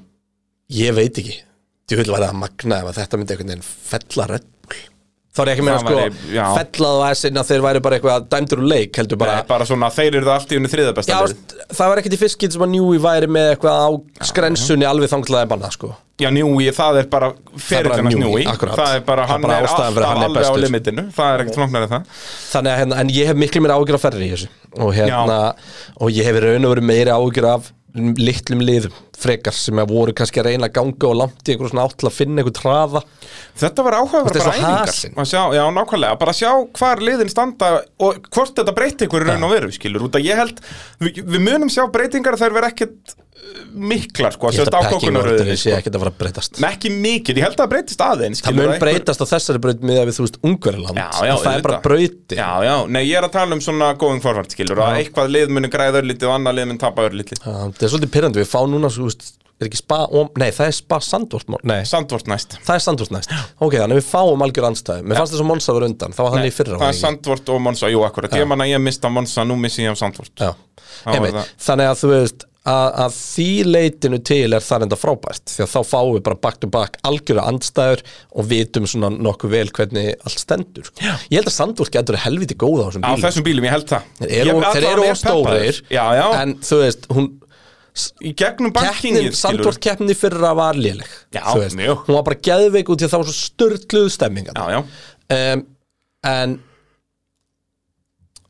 S1: ég veit ekki Þú vil væri að magna ef að þetta myndi einhvern veginn fella Red Bull Þá er ég ekki meina
S2: Það
S1: sko
S2: væri- já.
S1: fellað á aðsinn að þeir væri bara eitthvað dæmdur úr leik heldur bara
S2: Nei, Bara svona, þeir eru það allt í unni þriða
S1: Já,
S2: besta liðið.
S1: það var ekkert í fiskinn sem að Njúi væri með eitthvað á skrensunni alveg þanglaði banna sko
S2: Já, Njúi, það er bara ferillina
S1: Newey,
S2: Njúi
S1: akkurat.
S2: Það er bara,
S1: Það er
S2: hann
S1: bara
S2: er
S1: ástæðan
S2: alltaf
S1: fyrir að hann er
S2: alveg á
S1: bestur.
S2: limitinu Það er ekkert flóknar en það
S1: Þannig að hérna, en ég hef miklu meira ágjur af ferri í þessu og hérna, og ég hef í raun og verið meira ágjur af litlum liðum frekar sem að voru kannski að reyna að ganga og langt í eitthvað svona átt til að finna eitthvað traða
S2: Þetta var
S1: Þú veist,
S2: áhugaverð bara
S1: þessi
S2: æfingar
S1: hasinn.
S2: Að sjá, Já, nákvæmlega, bara sjá hvar liðin standa og hvort þetta breytti ykkur í raun og veru skilur, út að ég held við, við munum sjá breytingar þær vera ekkert uh, miklar, sko,
S1: Ég held
S2: sérst
S1: að packing orðinni
S2: ákókunaröðinni
S1: sé
S2: sko.
S1: ekkert að fara að breytast
S2: Nei, ekki mikið, ég held að það breytist
S1: Það
S2: aðeins skilur,
S1: mun
S2: að einhver-
S1: breytast á þessari braut miða við, þú veist, Ungverjaland
S2: Já, já,
S1: og það er bara
S2: auðvitað.
S1: brauti
S2: Já, já, nei, ég er að tala um svona going forward skilur, að eitthvað lið muni græða örlítið og annað lið muni tapa örlítið
S1: Það er svolítið pyrrandi, við fáum núna, þú veist, er ekki spa, om, nei, það er spa sandvort mál- Nei,
S2: Sandvort næst
S1: það er sandvort næst Ok, þannig við fáum algjör andstæði Mér fannst þess að Monsa var undan, það var hann í fyrra
S2: Það
S1: var
S2: er
S1: ekki?
S2: Sandvort og Monsa, jú, akkurat Ég man að ég mista Monsa, nú missi ég af Sandvort
S1: Já,
S2: var
S1: einmitt
S2: það.
S1: Þannig að þú veist, að, að því leitinu til er það enda frábært Því að þá fáum við bara back to back algjöra andstæður og vitum svona nokkuð vel hvernig allt stendur sko. Ég held að sandvort getur helviti góða á þessum
S2: Á
S1: bílum
S2: þessum bílum, ég held það
S1: Þeir eru, þeir
S2: Ég- allavega
S1: eru
S2: ég er
S1: óstórir
S2: peppaður. Já, já,
S1: En þú veist, hún
S2: í gegnum bankingið
S1: keppnin, sandvort keppnin í fyrra var léleg
S2: Já,
S1: þú veist.
S2: mjög.
S1: Hún var bara geðveik út í að það var svo störtluð stemming
S2: Já, já
S1: um, En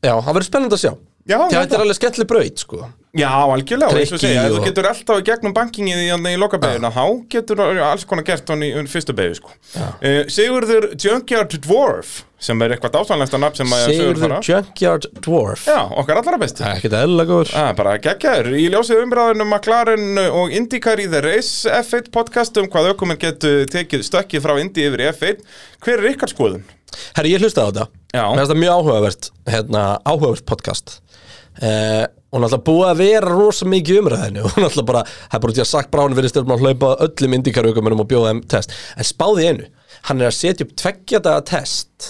S1: Já, það verður spennandi að sjá
S2: Já,
S1: Því að
S2: þetta-
S1: þetta er alveg skemmtileg braut, sko
S2: Já, algjörlega, og eins og
S1: Trikki
S2: segja, ef þú
S1: og-
S2: getur alltaf í gegnum bankingið í, þarna í lokabeiguna, þá getur alls konar gert hann í í fyrstu beigju, sko. Uh, Sigurður Junkyard Dwarf, sem er eitthvað dásanlegsta nafn sem að Sigurður
S1: Sigurður
S2: fara.
S1: Junkyard Dwarf
S2: Já, okkar allra besti.
S1: Það er ekkert eðlilega góður
S2: Það er Ah, bara geggjaður. Ég ljósið umræðinu McLaren og IndyCar í The Race F1 podcast um hvað aukuminn getur tekið stökkið frá Indy yfir í F1. Hver er ykkar skoðun?
S1: Herri, ég hlustaði á þetta
S2: Já.
S1: Mér finnst það mjög áhugavert hérna, áhugavert podcast eh, og náttúrulega búið að vera rosa mikið í umræðinu og náttúrulega bara, það er bara út í að Sack Brown verið stjórnum að hlaupa á öllum indíkaraukumennum og bjóða þeim test en spáði í einu, hann er að setja upp tveggja daga test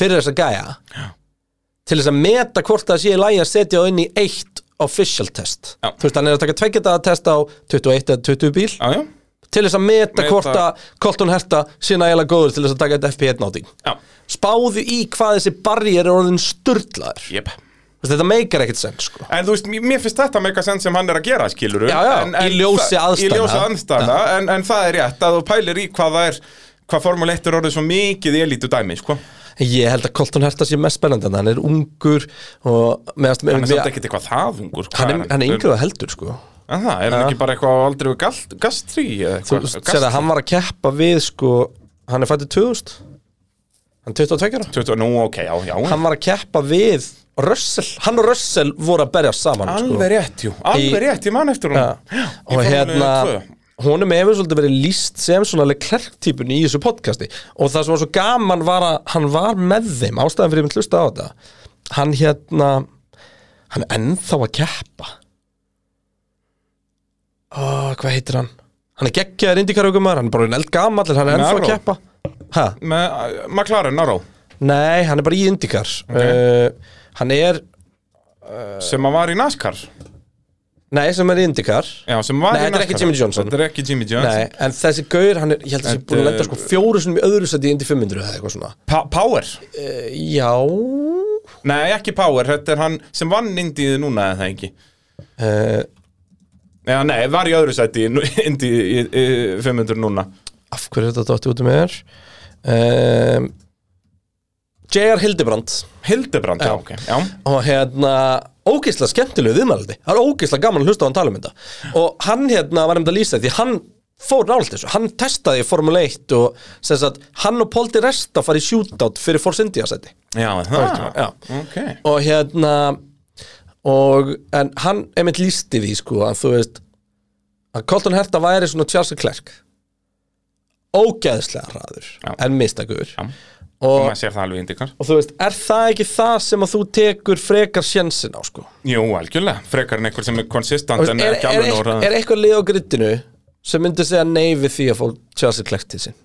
S1: fyrir þessa gæja Já. til þess að meta hvort það sé í lagi að setja það inn í eitt official test
S2: Já.
S1: þú veist, hann er að taka tveggja daga test á 21 eða 20 bíl
S2: Já, já.
S1: til þess að meta
S2: Meta.
S1: hvort að Colton Herta sé nægilega góður til þess að taka þetta FP1 náting
S2: Já,
S1: spáðu í hvað þessi barrier er orðin sturlaður
S2: jep
S1: Þú veist, þetta meikar ekkert sens sko.
S2: En þú veist, mér- mér finnst þetta meika sens sem hann er að gera, skilur
S1: Já, já,
S2: en,
S1: í ljósi
S2: það-
S1: aðstæðna.
S2: Í ljósi aðstæðna, en, en það er rétt að þú pælir í hvað það er hvað Formule 1 er orðið svo mikið í elítu dæmi, sko
S1: ég held að Colton Herta sé mest spennandi en hann er ungur og meðast,
S2: Hann er samt ekkert eitthvað sko. það ungur hvað
S1: hann er, hann er yngri og heldur sko.
S2: En það, er hann ekki bara eitthvað aldrei við galt, gastri eða
S1: þú
S2: eitthvað
S1: sér að hann var að keppa við sko, hann er fættið 2000 hann er 22 ára
S2: 20, Nú, ok, já, já
S1: hann var að keppa við Russell, hann og Russell voru að berja saman
S2: Alveg rétt, jú, alveg rétt, ég man eftir hún
S1: sko. Já. og hérna honum hefur svolítið verið líst sem svona klerktýpun í þessu podcasti og það sem var svo gaman var að hann var með þeim ástæðan fyrir ég mynd hlusta á þetta hann hérna hann er ennþá að keppa Ó, hvað heitir hann? hann er geggjaður indíkaraukumar, hann er bara en eldgamall en hann er ennþá að
S2: Naro.
S1: keppa ha?
S2: Með uh, McLaren, Naró,
S1: nei, hann er bara í indíkar uh, hann er,
S2: sem að var í NASCAR Já,
S1: nei sem er í indíkar
S2: sem var
S1: Nei, þetta
S2: í
S1: er
S2: NASCAR
S1: ekki Jimmy Johnson.
S2: Þetta er ekki Jimmy Johnson
S1: Nei, en þessi gaur, hann er, ég held að þessi
S2: En,
S1: búin að lenda
S2: eh,
S1: sko fjóru sinum í öðru seti í Indy 500 eða eitthvað svona
S2: Pa Power
S1: Eh, Já
S2: Nei, ekki Power, þetta er hann sem vann Indiði núna eða það ekki
S1: uh,
S2: Já, nei, var í öðru sætti Indiði 500 núna
S1: Af hverju er þetta dotti út um mér? Um, J.R. Hildebrand
S2: Hildebrand, já, ok Já,
S1: og hérna ógeisla skemmtilegu viðmældi það er ógeisla gaman að hlusta á hann tala um þetta og hann hérna var nefnd að lýsa því hann fór nált þessu, hann testaði í Formule 1 og sem sagt, hann og Poldi Resta farið í shootout fyrir Force India seti
S2: já það
S1: Já.
S2: Ok
S1: og hérna og en hann einmitt lísti því sko að þú veist að Colton Herta væri svona Charles Clerk ógæðslega hraður
S2: Já.
S1: en mistakur
S2: Já. Og
S1: og,
S2: maður sér það alveg indikar
S1: og þú veist, er það ekki það sem að þú tekur frekar sjensin á sko
S2: Jú, algjörlega, frekar en einhver sem er
S1: Þú
S2: konsistant
S1: veist,
S2: en
S1: er,
S2: er ekki
S1: er,
S2: alveg
S1: er,
S2: nóra
S1: er eitthvað lið á grittinu sem myndi segja nei við því að fólk Charles Clerk til sín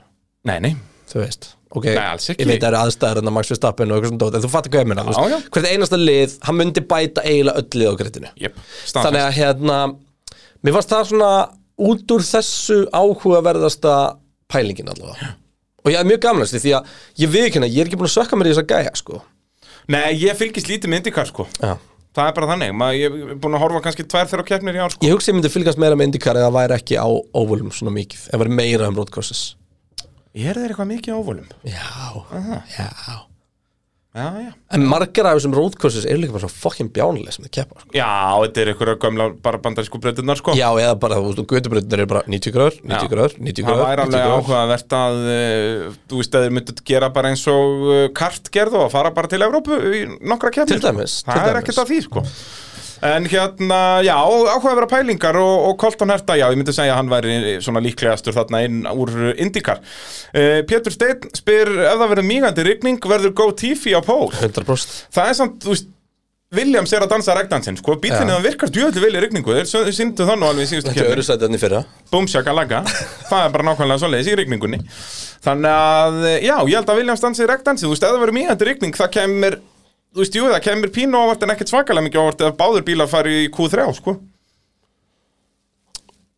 S2: Nei, nei,
S1: þú veist ok,
S2: Nei, alls ekki.
S1: ég veit að það eru aðstæður en að Max Verstappen og eitthvað svona dót en þú fattar hvað ég meina, þú
S2: Já, já.
S1: veist, hvert einasta lið hann myndi bæta eiginlega öll lið á grittinu
S2: jöp
S1: þannig að hérna mér fannst það svona út úr þessu áhugaverðasta pælingin allavega og ég er mjög gamlega því að ég viðkynna, ég er ekki búin að sökka mér í þess að gæja sko
S2: Nei, ég fylgist lítið með indikar, sko
S1: Já.
S2: Það er bara þannig, maður, ég er búin að horfa kannski tvær þeirra keppnir í ár, sko
S1: ég hugsa ég myndi fylgast meira með IndyCar eða væri ekki á óvölum svona mikið eða væri meira um roadcourses
S2: Er þeir eitthvað mikið óvölum?
S1: já, já
S2: Já, já
S1: en margar af þessum roadcourses eru líka bara svona fokkin bjánuleg sem þið keppa sko.
S2: Já, þetta er einhverja gömla bara bandarísku breytunar, sko
S1: já, eða bara, þú veist, götubröndin eru bara 90 gráður, 90
S2: Já.
S1: gráður, 90 gráður
S2: Það væri
S1: 90
S2: alveg
S1: gráður.
S2: áhugavert að eh, þú veist að þeir myndu gera bara eins og eh, kart gerðu og fara bara til Evrópu í nokkra kefnir
S1: Til dæmis,
S2: Það
S1: til
S2: er
S1: dæmis.
S2: ekkert að því sko En hérna, já, áhugavera pælingar og, og Colton Herta, já, ég myndi segja að hann væri svona líklegastur þarna inn úr Indikar uh, Pétur Steinn spyr ef það verður mýgandi rigning, verður góð tífi á pól
S1: 100%
S2: Það er samt, þú veist Williams er að dansa regdansinn, sko, bílinn
S1: Já.
S2: ja. virkar djöðli vel í rigningu, þeir sýndu þannig alveg í síðustu
S1: Þetta er öðru sætið enn í fyrra
S2: Búmsjaka laga, það er bara nákvæmlega svoleiðis í rigningunni Þannig að, já, ég held að Williams dansi rektansi, þú veist, ef það verður mjög rigning, það kemur, þú veist, jú, það kemur pínu ávart en ekkert svakalega mikið ávart ef báður bílar fari í Q3, sko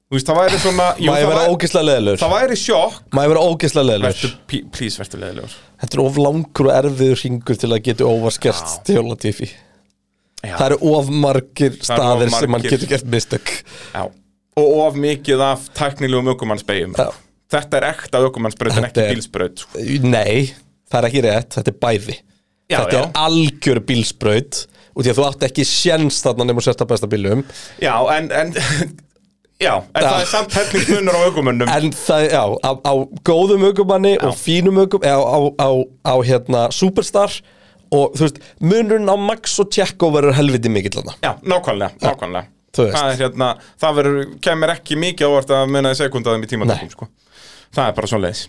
S2: Þú veist, það væri svona, jú,
S1: Má ég
S2: það
S1: vera
S2: væri,
S1: ógislega leðilegur?
S2: það væri sjokk
S1: Má ég vera ógeðslega
S2: Vertu,
S1: leðilegur?
S2: please, vertu leðilegur
S1: Þetta er of langur og erfiður hringur til að geta óvarskerst til Jóla Tifi
S2: Já.
S1: Það eru of margir
S2: eru of
S1: staðir sem hann
S2: margir.
S1: getur gert mistök
S2: Já, og of mikið af tæknilegum ökumannsbegjum
S1: Já.
S2: Þetta er ekta ökumannsbraut en
S1: Þetta
S2: ekki
S1: er-
S2: bílsbraut, sko
S1: Nei, það er ekki rétt, þetta er bæði
S2: Já,
S1: Þetta er
S2: já.
S1: algjör bílsbraut og því að þú átt ekki sjens þarna nema sérst að besta bílum
S2: Já, en, en, já, en það er samt hellingsmunur á ökumönnum
S1: En það, já, á, á góðum ökumanni og fínum ökum eða á, á, á, á hérna superstar og þú veist, munurinn á Max og Tjekko verður helviti mikill hana
S2: Já, nákvæmlega, nákvæmlega
S1: Þú veist.
S2: Það er hérna, það verður, kemur ekki mikið ávart að munaði sekundaðum í tímatökum,
S1: Nei.
S2: sko Það er bara svo leiðis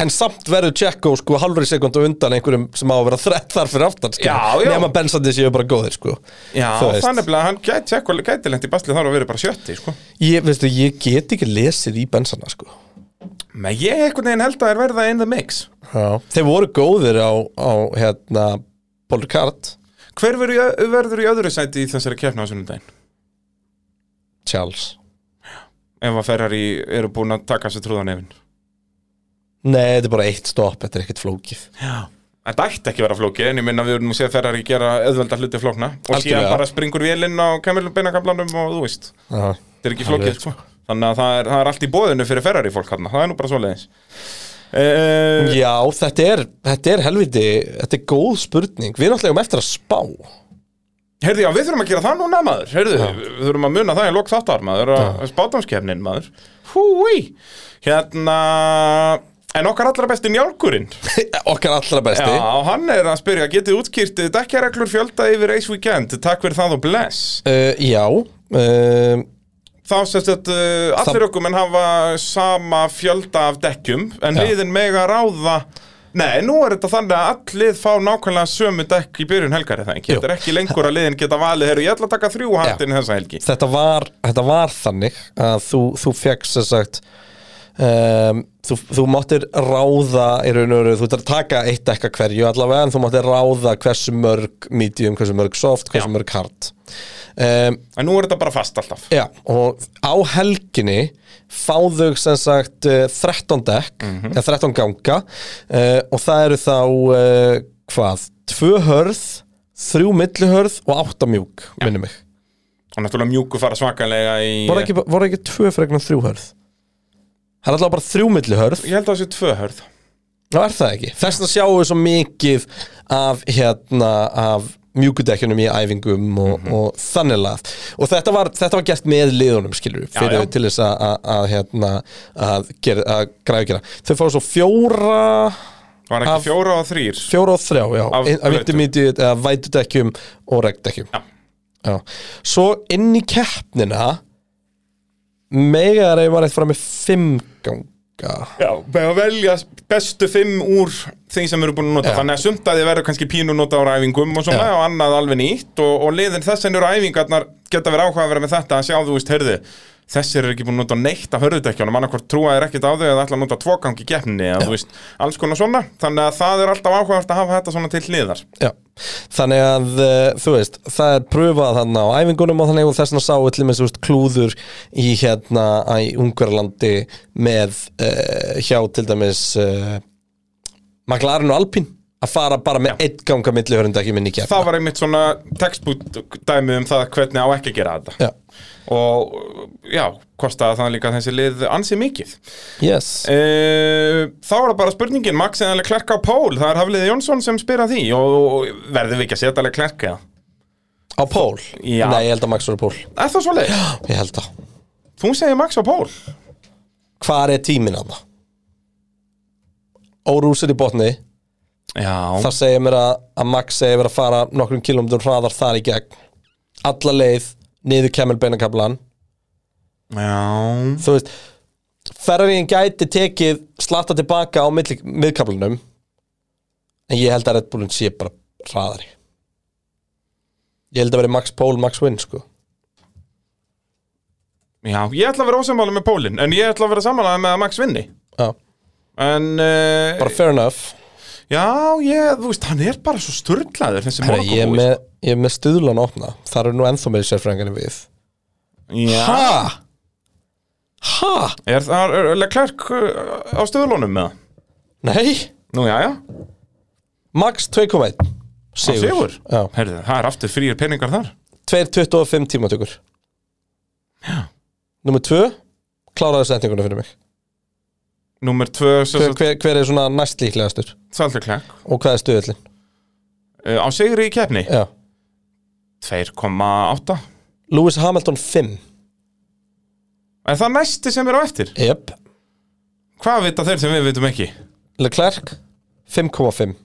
S1: En samt verður Tjekko sko halvri sekundu undan einhverjum sem á að vera þrætt þar fyrir aftan sko.
S2: Já, já.
S1: Nefna bensandi séu bara góðir sko
S2: Já,
S1: Þú veist.
S2: þannig að hann gæti, gæti, gæti lent í baslið þar að vera bara sjötti, sko
S1: Ég, veistu, ég get ekki lesið í bensana sko
S2: Men ég einhvern veginn held að er verða in the mix
S1: já. Þeir voru góðir á, á hérna, Paul Ricard
S2: Hver verður í, ö- verður í öðru sæti í þessari keppna á sunnudaginn?
S1: Charles
S2: ef að Ferrari eru búin að taka sér trúðan efinn
S1: Nei, þetta er bara eitt stopp, þetta er ekkert flókið
S2: Þetta ætti ekki að vera flókið, en ég minna við erum að segja Ferrari gera auðvelda hluti flókna og síðan
S1: Algjörlega.
S2: bara springur vélinn á kamilbeinakablanum og þú veist,
S1: Já,
S2: þetta er ekki
S1: Alveg,
S2: flókið sko. Þannig að það er, það er allt í bóðinu fyrir Ferrari fólk hann, það er nú bara svoleiðis uh,
S1: Já þetta, er, þetta er helviti, þetta er góð spurning Við náttúrulega um eftir að spá
S2: Heyrðu, já, við þurfum að gera það núna, maður Heyrðu, við þurfum að muna það í lok þáttar, maður að spátumskefnin, maður Húi Hérna En okkar allra besti njálkurinn
S1: Okkar allra
S2: Já,
S1: besti
S2: og hann er að spyrja, getið útskýrt Dekkjareglur fjölda yfir Ace Weekend Takk fyrir það og bless
S1: Uh, já, uh,
S2: Þá sérst að uh, allir okkur menn hafa sama fjölda af dekkjum En
S1: Já.
S2: liðin mega ráða Nei, nú er þetta þannig að allir fá nákvæmlega sömu dekk í byrjun helgar er það ekki
S1: Jú.
S2: Þetta er ekki lengur að liðin geta valið Heyrðu, ég ætla að taka þrjú hattin þessa helgi
S1: þetta, var, þetta var þannig að þú, þú fegst sem sagt um, þú, þú máttir ráða í raun og veru, þú ert að taka eitt ekka hverju allavega en þú máttir ráða hversu mörg medium, hversu mörg soft, hversu
S2: Já.
S1: mörg hard um,
S2: En nú er þetta bara fast alltaf
S1: Já, og á helginni fá þau sem sagt eh, 13 dekk, eða 13 ganga uh, og það eru þá uh, hvað, tvö hörð þrjú millihörð og átta mjúk minni mig,
S2: Og náttúrulega mjúku fara svakalega í
S1: voru ekki, voru ekki tvö frekna þrjú hörð það er alltaf bara þrjú millihörð,
S2: Ég held að það sé tvö hörð
S1: þá er það ekki þess að sjáum við svo mikið af hérna, af mjúkudekkjunum í æfingum og,
S2: Mhm.
S1: og þannig lað og þetta var, þetta var gert með liðunum skilur við,
S2: Já,
S1: fyrir
S2: já.
S1: til þess að- að að, hérna, að, gera, að græðu gera þau fá svo fjóra
S2: Var ekki
S1: Af-
S2: fjóra og þrýr
S1: fjóra og þrjá, já,
S2: Af
S1: inn- af
S2: blautu.
S1: intermediate eða vætudekkjum og regdekkjum
S2: Já.
S1: Já. svo inn í keppnina mega er eiginlega rétt fram með fimm ganga
S2: Já, með að velja bestu fimm úr þeim sem eru búin að nota
S1: Já.
S2: Þannig að sumt að þið verður kannski pínu nota á ræfingum og svona
S1: Já.
S2: og annað alveg nýtt og, og liðin þess en eru æfingarnar geta verið áhuga að vera með þetta að sjá þú veist, heyrðu Þessir eru ekki búin að nota neitt af hörðutekjunum annarkvort trúa er ekkit á þau eða ætla að nota tvogang í keppninni eða þú veist, alls konar svona Þannig að það er alltaf áhugavert að hafa þetta svona til hliðar
S1: Já, þannig að eh, þú veist, það er pröfað þarna á æfingunum og þannig og þess að sá allir með veist, klúður í hérna í Ungarlandi með uh, hjá til dæmis uh, McLaren og Alpine að fara bara með eitt ganga milli hörunda ekki minni kjæfna
S2: Það var einmitt svona textbútt dæmi um það hvernig á ekki að gera þetta
S1: Já,
S2: og já, kostaði það líka þessi lið ansi mikið
S1: yes
S2: e, þá er það bara spurningin Max eða Leclerc á Pól, það er Hafliði Jónsson sem spyr að því og, og verðum við ekki að setja Leclerc eða,
S1: Á Pól?
S2: Já.
S1: Nei, ég held að Max voru Pól
S2: er það svo leið?
S1: Ég held að
S2: þú segir Max á Pól
S1: Hvar er tíminn hann? Órúsir í botni
S2: já,
S1: það segir mér að, að Max segir mér að fara nokkrum kilómetrum hraðar þar í gegn alla leið, niður kemur beinakablan
S2: já
S1: þú veist, ferðarinn gæti tekið slatta tilbaka á milli- miðkablanum en ég held að Red Bullin sé bara hraðari ég held að veri Max Pól, Max Win sko
S2: já, ég ætla að vera ósammála með Pólin en ég ætla að vera sammála með að Max vinni
S1: já,
S2: en, e,
S1: bara fair enough
S2: já, ég, þú veist, hann er bara svo sturglaður þessi
S1: Herra, ég, er
S2: Monaco-búi.
S1: með, ég er með stuðlan að opna þar eru nú ennþá meiri sérfræðingarnir við
S2: já,
S1: ha? ha?
S2: er það er Leclerc uh, á stöðlónum með það?
S1: nei?
S2: nú, já, já
S1: Max 2,1 Sigur,
S2: Sigur?
S1: Já.
S2: Herðu, það er aftur frýir peningar þar
S1: 2.25 tímatökur Já Númer 2 Kláraði setninguna fyrir mig
S2: Númer tvö,
S1: hver, hver, hver er svona næst líklegastur
S2: Saltur Klank
S1: Og hvað er stuðullin?
S2: uh, Á sigri í keppni
S1: Já
S2: 2,8
S1: Lewis Hamilton 5
S2: Er það næsti sem er á eftir?
S1: Jep
S2: Hvað vita þeir sem við vitum ekki?
S1: Leclerc 5,5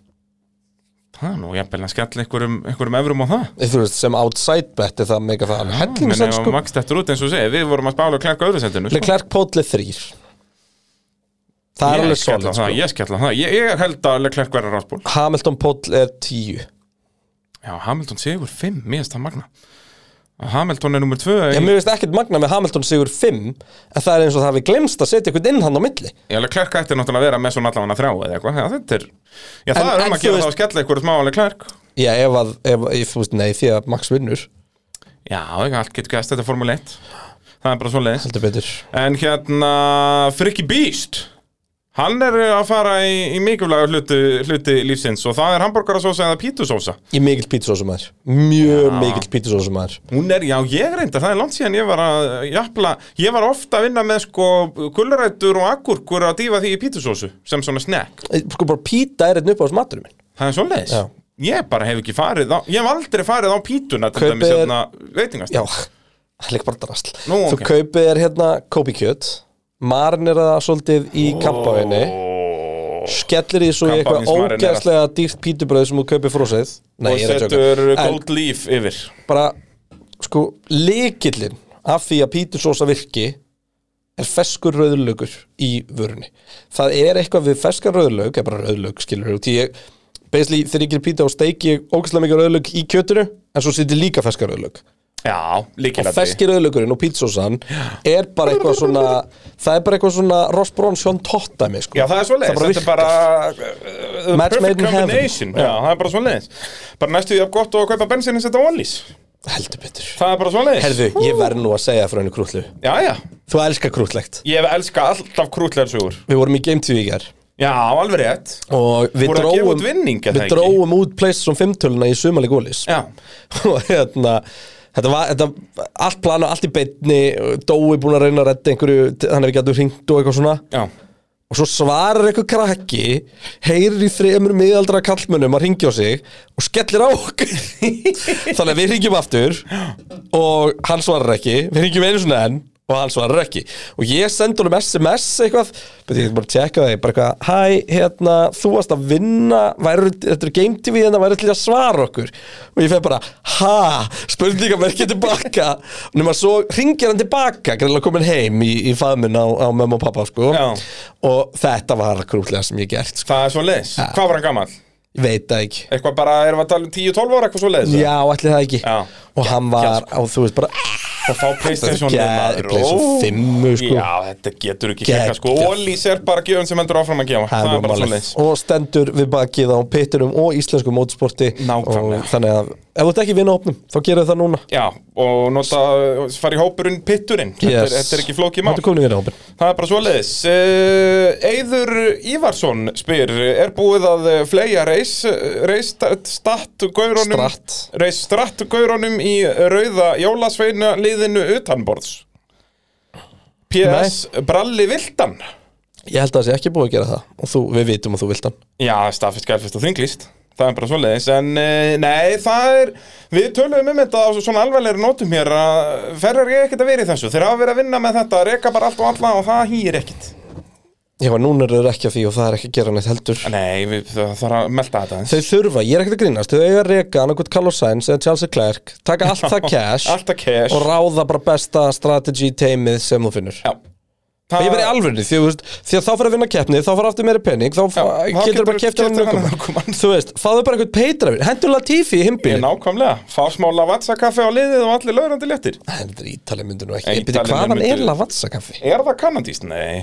S2: Það er nú jafnvel að skella einhverjum, einhverjum evrum á það
S1: Eh, Þú veist sem outside bet er það mega það alveg helling
S2: Menni
S1: sem
S2: sko...
S1: sko
S2: Max þetta út eins og segja Við vorum að spála Klank á öðru sendinu sko.
S1: Leclerc pótli 3 Það er
S2: Ég
S1: alveg
S2: skella
S1: solid
S2: það,
S1: sko
S2: Ég skella það Ég, ég held að Leclerc verður ráspól
S1: Hamilton pótli er 10
S2: Já, Hamilton sigur 5 Mér finnst það magna Að Hamilton er nummer 2
S1: Ég mér veist ekkert magna með Hamilton sigur 5 En það er eins og það hafi glemst að setja eitthvað inn hann á milli
S2: Já, Leclerc ætti náttúrulega að vera með svona allavega þrjá eða eitthvað Já, þetta er Já, það
S1: En- en
S2: er um að
S1: þú
S2: gera
S1: veist-
S2: það að skella einhverjum smá á Leclerc
S1: Já, ef að, ef, ef, þú veist, nei, því að Max vinnur
S2: Já, allt getur gæst, þetta er Formule 1 það er bara svo leiðis
S1: heldur betur
S2: En hérna, Frikki Beast Hann er að fara í, í mikilvæga hluti, hluti lífsins og það er hambúrgarasósa eða pítusósa.
S1: Ég er mikill pítusósumæður Mjög mikill pítusósumæður
S2: Hún er, já, ég reyndar, það er langt síðan ég var að jafla, ég var ofta að vinna með sko kullurættur og agurkur að dýfa því í pítusósu sem svona snack.
S1: Sko bara píta er einn upp á þessu maturum minn
S2: Það er svoleiðis.
S1: Já.
S2: Ég bara hef ekki farið á, ég hef aldrei farið á pítuna til
S1: Kaupið
S2: dæmis
S1: er-
S2: hérna veitingast.
S1: Já, það er líka bara drasl
S2: Nú,
S1: Þú
S2: ok.
S1: kaupið er hérna kópikjöt Marinir það svolítið í oh. kampaðinni Skellir því svo í eitthvað
S2: Kampavínsmarinera.
S1: ógeðslega dýrt pítubröð sem þú kaupir frósið Nei,
S2: Og
S1: ég er að
S2: setur
S1: tjóka En
S2: gold leaf yfir.
S1: bara, sko, lykillinn af því að pítusósa virki er feskur rauðurlaugur í vörunni. Það er eitthvað við feskan rauðurlaug, eða bara rauðurlaug, skilur þú, því ég, basically, þegar ég gerir píta og steiki ég ógæslega mikið rauðurlaug í kjötinu, en svo sittir líka feskan rauðurlaug.
S2: Já, líkilega
S1: Feski rauðurlaugurinn og pítusósan er bara eitthvað svona, það er bara eitthvað svona Ross Bronsson totta mig, sko.
S2: Já, það er svoleiðis,
S1: bara
S2: þetta er bara uh, the
S1: Match made
S2: perfect
S1: in heaven.
S2: combination Já, það er bara svoleiðis Bara næstu því að gott og að kaupa bensin eins og þetta ólís
S1: Heldur betur.
S2: Það er bara svoleiðis
S1: Herðu, ég verð nú að segja frá henni krútlu.
S2: Já, já,
S1: Þú elskar krútlegt.
S2: ég elska alltaf krútlegarsögur
S1: Við vorum í Game 2 í gær.
S2: Já, alveg rétt
S1: og við
S2: Voru að gefa
S1: dróum
S2: út vinning, er
S1: við
S2: það ekki?
S1: dróum út place som fimmtöluna í sumaleg ólís
S2: Já,
S1: og hérna þetta var, þetta, allt plana, allt í beinni Dói búin að reyna að redda einhverju þannig að við gætum hringt og eitthvað svona
S2: já,
S1: og svo svarar einhver krakki heyrir í þremur miðaldra kallmönnum að ringja á sig og skellir á okkur þannig að við ringjum aftur og hann svarar ekki við ringjum einu svona enn og hann svarar ekki og ég sendi honum sms eitthvað betur ég bara að tjekka það bara eitthvað, hæ, hérna, þú varst að vinna væru, þetta er game tv hérna, væri til að svara okkur og ég feg bara, ha spurningamerki tilbaka nema svo ringir hann tilbaka greinlega komin heim í, í faðminn á, á mömmu og pappa sko
S2: Já.
S1: og þetta var krútlega sem ég gert sko.
S2: það er svoleiðis Hvað var hann gamall?
S1: Ég veit það ekki
S2: Eitthvað bara, erum við að tala um 10-12 ára eitthvað svoleiðis?
S1: já, allir það ekki
S2: Já.
S1: og hann var, og þú veist bara
S2: Og þá Playstation
S1: Þetta er
S2: maður.
S1: geð- PlayStation
S2: Ó.
S1: fimmu, sko.
S2: Já, þetta getur ekki
S1: Geggjað.
S2: kekka sko Ólís er bara gjöfum sem endur áfram að gefa
S1: Það er
S2: bara
S1: málið.
S2: svoleiðis
S1: og stendur við bakið á pitturum og íslensku mótsporti
S2: Nákvæmlega.
S1: og þannig að ef þú ert ekki vinna opnum þá gerum við það núna
S2: Já, og nota, fara í hópurinn pitturinn þetta, er, þetta er ekki flókið mál
S1: Þetta er komin í vinna opnum
S2: Það er bara svoleiðis. Eh, Eyður Ívarsson spyr, er búið að eh, fleygja reis, eh, reis statt gaurunum,
S1: Stratt.
S2: reis stratt gaurunum í rauða jólasveina liðinu utanborðs? PS Bralli Vildan.
S1: Ég held að það sé ekki búið að gera það og þú, við vitum að þú vilt hann
S2: Já, staðfist, gælfist og þinglist. Það er bara svoleiðis, en eh, nei, það er, við töluðum um þetta á svona alveglegri nótum hér að ferrar ég ekkert að vera í þessu. Þeir hafa verið að vinna með þetta, reka bara allt og alla og það hýr ekkert.
S1: Já, núna eru þeir ekki að því og það er ekki að gera neitt heldur
S2: Nei, við, það þarf að melta þetta aðeins.
S1: Þau þurfa, ég er ekkert að grínast, þau eiga að reka annarkvæmt Carlos Sainz eða Charles Leclerc taka allt það cash
S2: Alltaf cash
S1: og ráða bara besta strategy teimið sem þú finnur
S2: Já
S1: Og ég verið alveg því, þú veist, því að þá fyrir að vinna keppni þá fyrir aftur meiri penning, þá já,
S2: Já, þá
S1: getur
S2: getur
S1: bara keftir hann
S2: keyptur hann
S1: mjög
S2: ökumann.
S1: þú veist, fáðu bara einhvern peitrafin hendur Latifi í
S2: Ég
S1: himbíl
S2: nákvæmlega, fá smá lavatsa kaffe á liðið og allir lögrandi léttir
S1: þetta er ítalið myndu nú ekki,
S2: Nei,
S1: ég byrja
S2: Ítalinn
S1: hvaðan
S2: myndu-
S1: er Lavazza kaffi?
S2: Er það kanadíst? Nei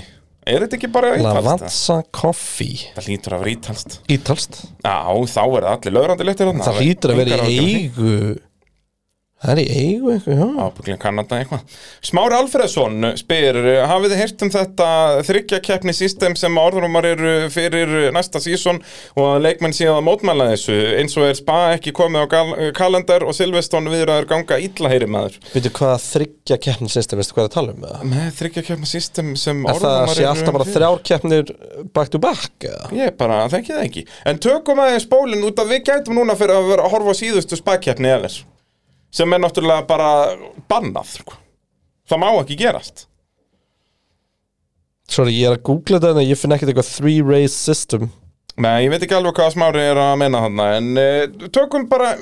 S2: Er þetta ekki bara ítalst?
S1: Lavazza kaffi
S2: Það lítur að vera ítalst
S1: ítalst,
S2: Já, þá er það allir lögrandi léttir þarna.
S1: það hlýtur að vera
S2: Engar
S1: í eigu það er í
S2: áhyggjur af því.
S1: eigu eitthvað, já
S2: Ábyggilega Kanada eitthvað Smári Alfreðsson spyr Hafið þið heyrt um þetta þryggja keppni system sem orðrumar eru fyrir næsta sísón og að leikmenn séu að mótmæla þessu eins og er spa ekki komið á gal- kalendar og Silveston viðraður ganga illa heyri maður
S1: Veitu hvað þryggja keppnisystem, veistu hvað er að tala um með það?
S2: Með þryggja keppni system sem
S1: Er það
S2: orðrumar
S1: sé alltaf bara þrjár keppnir back to back? eða?
S2: Ég bara þekki það ekki En tökum aðeins bólinn út að við gætum núna fyrir að vera að horfa á síðustu spakeppni eðlis sem er náttúrulega bara bannað sko. Það má ekki gerast
S1: Sorry, ég er að googla þetta en ég finn ekkert eitthvað three race system
S2: Nei, ég veit ekki alveg hvað Smári er að menna þarna en uh, tökum bara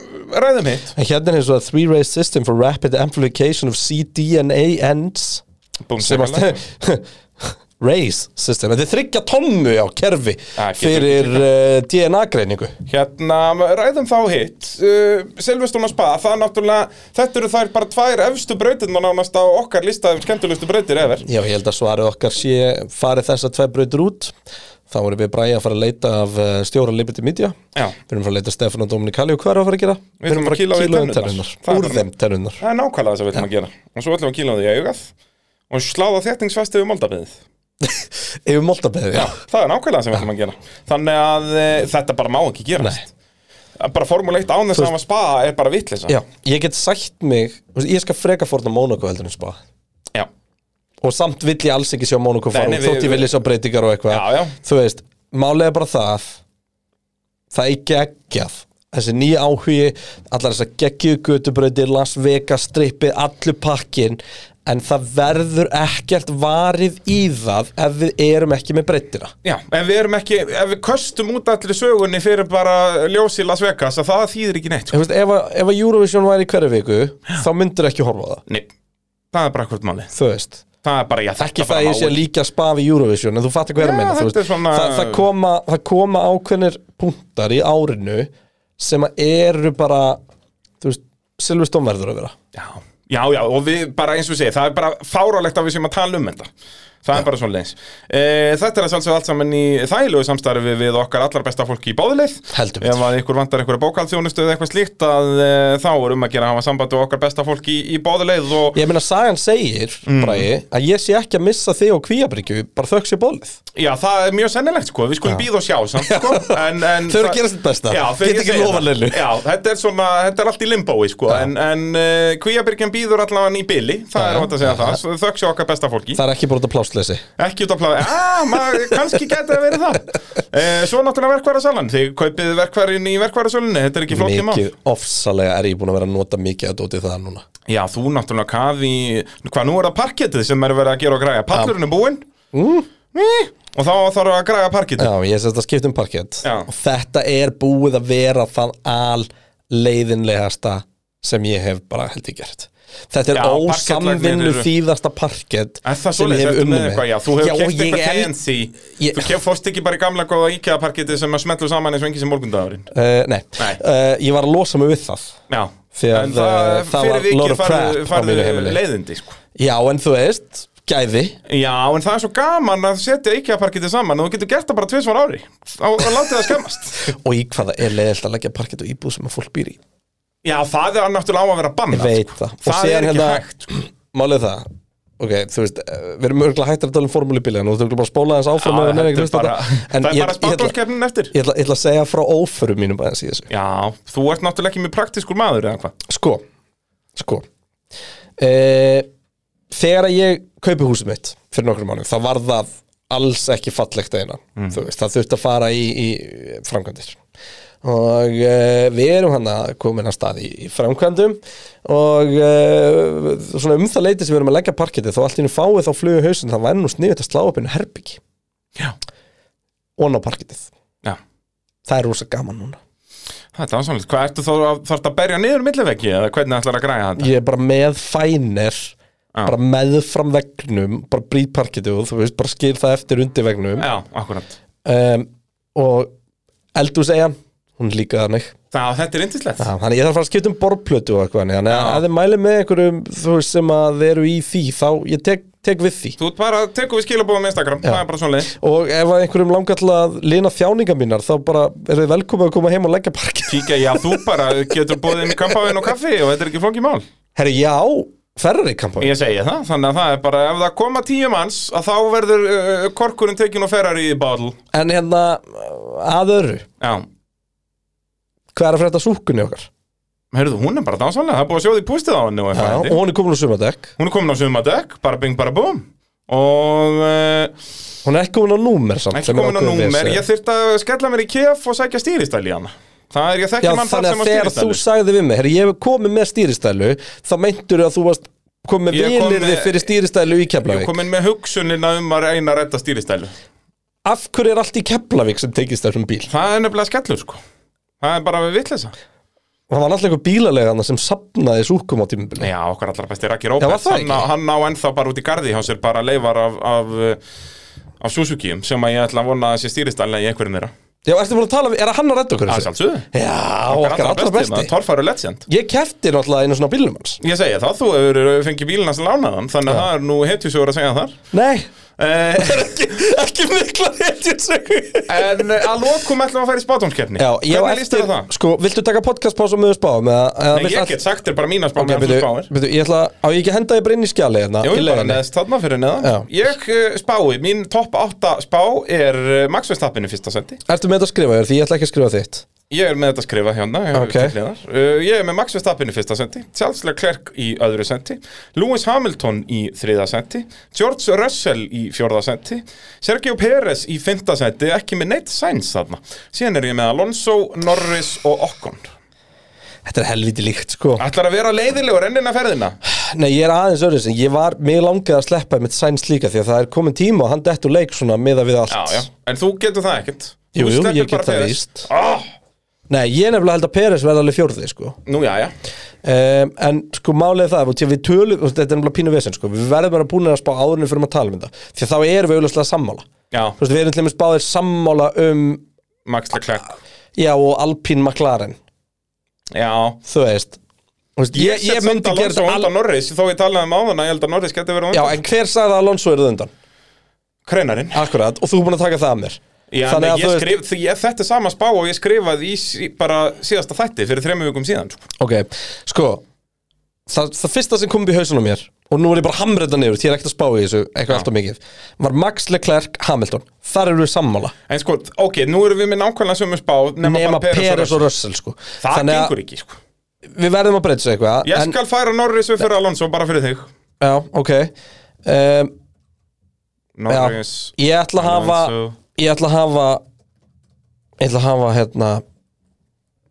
S2: ræðum hitt
S1: En hérna er eins og að three race system for rapid amplification of cDNA ends
S2: Búm,
S1: sem að
S2: sérlega.
S1: race system, þetta er þryggja tommu á kerfi
S2: Ah, getur
S1: fyrir uh, DNA greiningu
S2: Hérna, ræðum þá hitt uh, Silveston og Spa, það er náttúrulega þetta eru þær bara tvær efstu brautin og nánast á okkar lista af skemmtilegustu brautir efer
S1: Já, ég held að svarið okkar sé farið þess að tvei brautur út þá vorum við bræði að fara að leita af eh, stjóra Liberty Media
S2: Já.
S1: Við erum að fara að leita Stefán og Dominikali og hvað er að fara að gera?
S2: Við ætlum að
S1: bara
S2: kýla á í
S1: kýla um
S2: tennurnar.
S1: tennurnar
S2: Það
S1: Úr
S2: er bara-
S1: þeim tennurnar
S2: Það er nákvæmlega það sem við ætlum að gera Og svo ætlum við að kýla á því í augað og sláða þéttingsfesti um moldabiðið
S1: Yfir moltabeðið, já
S2: það er nákvæmlega sem við ætlum að gera þannig að e, þetta bara má ekki gerast Að bara Formule 1 án þess að hafa spa er bara vitleysa
S1: Já, ég get sætt mig þú veist, Ég skal freka fórna Mónaco heldur en spa
S2: já,
S1: Og samt vill ég alls ekki sjá Mónaco fara
S2: nei,
S1: út,
S2: við-
S1: Þótt ég vilja sjá breytingar og eitthvað
S2: Já, já.
S1: Þú veist, málega bara það Það er geggjað Þessi nýja áhugi Allar þessar geggjuðu götubrautir Las Vegas strippi, allur pakkin En það verður ekkert varið í það Ef við erum ekki með breyttina
S2: já, ef við erum ekki ef við köstum út allir sögunni fyrir bara ljós í Las Vegas að það þýðir ekki neitt sko.
S1: Þú veist, ef, að- ef að Eurovision væri í hverju viku Þá myndir ekki horfa á það
S2: Nei, það er bara hvort máli
S1: Þú veist
S2: það er bara, já, þetta
S1: ekki
S2: bara
S1: það ég
S2: má
S1: sé að líka spa við Eurovision en þú fattar hvað ég er að
S2: Já,
S1: minna
S2: þetta er svona-
S1: það, það, koma, það koma ákveðnir punktar í árinu sem að eru bara þú veist, Silveston verður að vera
S2: já, já, já, og við bara eins og segja það er bara fárálegt að við séum að tala um þetta það er bara svona leins e, þetta er að sjálfsög allt saman í þægilegu samstarfi við okkar allar besta fólki í báðuleið
S1: Heldur betur.
S2: ef að ykkur vantar einhverja bókaldþjónustu eða eitthvað slíkt að e, þá er um að gera að hafa samband við okkar besta fólki í, í báðuleið og
S1: ég meina Sagan segir,
S2: Mm.
S1: Bragi að ég sé ekki að missa þig og Kvíabryggju bara þöks í bólið
S2: já, það er mjög sennilegt sko við skulum býða og sjá samt sko en, en,
S1: Þau eru að
S2: það-
S1: gera sitt besta.
S2: já, þegar
S1: Get
S2: ég
S1: ekki
S2: segi
S1: lofað
S2: það.
S1: neinu.
S2: já, þetta er svona, þetta er allt í limbói sko en, en uh, Kvíabyrgjan býður allavega í byli það
S1: Já,
S2: er hótt að segja það, það. þökk sé okkar besta fólki
S1: það er ekki brota plástleysi
S2: Ekki út af pláði, aaa, maður, kannski geti að vera það eh, Svo náttúrulega verkværasalan, þið kaupið verkværin í verkværasölunni, þetta er ekki flókið mál
S1: mikið ofsalega er ég búin að vera að nota mikið að dóti það núna
S2: Já, þú náttúrulega kafi, hvað nú er það parkettið sem er verið að gera og græja Pallurinn er búinn mm. og þá þarf að græja parkettið
S1: já, ég sé þetta skipt um parkett
S2: Já.
S1: og þetta er búið að vera það al leiðinlegasta sem ég hef bara held ég gert þetta er
S2: Já,
S1: ósamvinnu
S2: parkettlagnir eru-
S1: þýðasta parkett
S2: Er það
S1: sem
S2: svoleiðis?
S1: ég hef
S2: Ertu með
S1: unnið
S2: eitthvað?
S1: með
S2: Já, þú hefur
S1: og
S2: keft
S1: ég
S2: eitthvað
S1: el-
S2: fancy
S1: ég-
S2: Þú keft fórst ekki bara í gamla góða IKEA-parkettið sem að smetlu saman eins og engin sem morgundagurinn
S1: Eh, Nei,
S2: Nei.
S1: Eh, ég var að losa mig við það
S2: Já,
S1: Því að,
S2: en
S1: eh, það var
S2: fyrir
S1: lot of
S2: vikið
S1: crap á
S2: farðu,
S1: mínu
S2: farðu
S1: heimili.
S2: leiðindi sko.
S1: Já, en þú veist, gæði
S2: Já, en það er svo gaman að setja IKEA-parkitið saman og þú getur gert það bara tvisvar ári og, og látið það skemmast
S1: og í hvaða er leiðilt að leggja parkett og íbúð sem að fólk býr í
S2: Já, það er náttúrulega á að vera
S1: Ég
S2: bannað
S1: veit
S2: sko.
S1: það Og
S2: Það
S1: síðan
S2: er ekki
S1: hérna-
S2: hægt sko.
S1: Málið það Ok, þú veist, eh, við erum örgulega hættir að tala um formúlubílið Nú þú erum bara að spóla þess áfram
S2: Já,
S1: ef þú nennir
S2: þetta
S1: ekki að
S2: er
S1: hlusta á
S2: bara-
S1: þetta. En ég-
S2: Það er bara
S1: ég ætla-
S2: spáttólkeppnin eftir
S1: Ég ætla, ég ætla að segja frá óförum mínum aðeins í þessu
S2: Já, þú ert náttúrulega ekki mjög praktískur maður eða hvað
S1: Sko, sko e, Þegar að ég kaupi húsið mitt fyrir nokkrum mánum, þá var það alls ekki fallegt að einan Þú veist, það þurfti að fara í, í framkvæmdir og e, við erum hann að komin að stað í, í framkvæmdum og e, svona um það leiti sem við erum að leggja parketið þá allt í henni fáið þá flugu hausinn það væri nú sniðið að slá upp einu herbyggi
S2: Já,
S1: og ná parketið,
S2: já
S1: það er rosa gaman núna
S2: Þetta var svolítið, hvað ertu þá að þarft að berja niður milliveggi eða hvernig ætlar að græja þetta?
S1: ég er bara með fænir bara meðfram vegnum bara brýt parkitið og þú veist bara skil það eftir undir vegnum
S2: Já, akkurat
S1: um, og eldús eigan hún er líka þannig
S2: Það, þetta er indislegt
S1: Já, þannig ég þarf að fara að skipta um borplötu og eitthvað þannig að
S2: Já.
S1: ef þið mæli með einhverjum þú veist sem að þið eru í því þá ég tek, tek við því
S2: Þú ert bara, tekum við skilabóðum með Instagram, það er bara svona
S1: og ef að einhverjum langar til að lina þjáningar mínar þá bara eru þið velkomið að koma heim og leggja parkið
S2: Kíkja, já, þú bara getur bóðið inn í kampavinn og kaffi og þetta er ekki flókið mál
S1: herru já, ferrari kampan
S2: Ég segi það, þannig að það er bara ef það koma tíu manns að þá verður uh, korkurinn tekin og ferrar í bátl
S1: en hérna að öru
S2: Já,
S1: hvað er að frétta súkunni okkar
S2: heyrðu, hún er bara dásanlega, það er búið að sjóða í pústið á henni og
S1: Já,
S2: eitthvað
S1: og
S2: hendi.
S1: hún er komin úr sumadekk
S2: Hún er komin á sumadekk, bara bing bara búm og uh,
S1: Hún er ekki komin á númer samt
S2: ekki komin á númer ég þyrft að skella mér í kef og sækja stýristæl í hana Það er, ég
S1: Já,
S2: þekki mann þar
S1: þannig
S2: sem
S1: að
S2: að
S1: þegar þú
S2: stýristælu
S1: sagði við mig Herri, ég hef komið með stýristælu Þá meintur að þú varst komið með
S2: Ég kom
S1: vilirði
S2: með-
S1: fyrir stýristælu í
S2: Ég
S1: Keflavík
S2: kom inn með hugsunina um að reyna að redda stýristælu
S1: Af hverju er allt í Keflavík sem tekist þessum bíl?
S2: Það er nefnilega skellur sko Það er bara við vitleysa
S1: Það var náttúrulega einhver bílalegana sem sapnaði súkum á tímabili
S2: Já, okkar allra besti Raki
S1: Já, var
S2: Róbert
S1: það
S2: hann, á-
S1: ekki?
S2: hann á ennþá bara út í garði hjá sér bara leifar af, af, uh, af Suzuki-um sem að ég ætla að vona að sé stýristæla í einhverjum þeirra
S1: Já, ertu búin að tala við, er að hann að redda okkur
S2: Það er sjálfsögðu
S1: Já, okkar allra besti
S2: Torfæru legend
S1: Ég kefti náttúrulega einu svona bílum hans
S2: eh, Ég segi það, þú hefur fengið bílinn hans lánaðan þannig að það er nú hetjusögur að segja þar
S1: Nei,
S2: Eh,
S1: ekki, ekki mikla hetjursögu
S2: En eh, að lokum ætlum við að fara í spátumskeppni
S1: Já, ég á
S2: Hvernig líst
S1: eftir,
S2: þér á það?
S1: sko, viltu taka podcastpásu með spáum? Eða, eða
S2: Nei,
S1: viltu
S2: ég
S1: all-
S2: get sagt þér bara mína
S1: Ok,
S2: spámi
S1: byrju, byrju, ég ætla, á ég ekki að henda þér bara inn í skjali hérna í
S2: Jú, bara
S1: leiðinni?
S2: neðst þarna fyrir neða Ég eh, spái, mín topp 8 spá er eh, Max Verstappen í fyrsta seti
S1: Ertu með þetta að skrifa þér, því ég ætla ekki að skrifa þitt
S2: Ég er með þetta að skrifa hérna ég,
S1: Ok.
S2: uh, ég er með Max Verstappen í fyrsta senti Charles Leclerc í öðru senti Lewis Hamilton í þriða senti George Russell í fjórða senti Sergio Perez í fymta senti ekki með neitt sæns þarna síðan er ég með Alonso, Norris og Okkon
S1: Þetta er helviti líkt, sko
S2: Ætlar að vera leiðilegur ennina ferðina
S1: Nei, ég er aðeins öðruðs en ég var, mig langaði að sleppa mitt sæns líka því að það er komin tíma og hann dettur leik svona miða við allt
S2: Já, já, en þú getur það ekkert
S1: Jú,
S2: Þú
S1: jú,
S2: sleppir
S1: ég get
S2: bara
S1: það
S2: Perez.
S1: víst.
S2: Ah,
S1: Nei, ég nefnilega held að Peres verði alveg fjórði, sko
S2: Nú, já, já
S1: um, En sko málið er það, þú veist, við tölum, þú veist, þetta er nefnilega pínu vesen, sko Við verðum bara búin að spá áðurinn fyrir að tala um þetta Því að þá erum við auðvitað sammála
S2: Já,
S1: Þú veist, við erum til dæmis báðir sammála um,
S2: Max Leclerc
S1: já, og Alpine McLaren
S2: Já,
S1: Þú veist Þú veist,
S2: ég, ég myndi gera þetta
S1: al-
S2: Alonso undan Norris, þó ég talaði um áðan að ég held að Norris geti verið á
S1: Já,
S2: undan
S1: en hver sagði að Alonso eruð undan?
S2: Kreinarinn
S1: Akkurat, og þú er búin að taka það að mér
S2: Já,
S1: Þannig
S2: nei,
S1: að
S2: ég
S1: þú veist-
S2: skrif, því ég, þetta er sama spá og ég skrifaði í sí- bara síðasta þætti fyrir þremmu vikum síðan sko.
S1: Ok, sko það, það fyrsta sem kom upp í hausunum mér og nú er ég bara hamrita niður, því ég er ekkert að spá í þessu eitthvað alltaf mikið, var Max Leclerc Hamilton, þar eru við sammála
S2: En sko, ok, nú erum við með nákvæmlega sömu spá nema,
S1: nema
S2: bara
S1: Peres og Russell sko
S2: Það
S1: Þannig að
S2: gengur ekki, sko
S1: við verðum að breyta þessu eitthvað
S2: Ég
S1: en-
S2: skal færa Norris upp fyrir Alonso bara fyrir þig
S1: Já, ok um,
S2: Norris
S1: Já, ég ætla að hafa
S2: Alonso.
S1: Ég ætla að hafa Ég ætla að hafa hérna ah,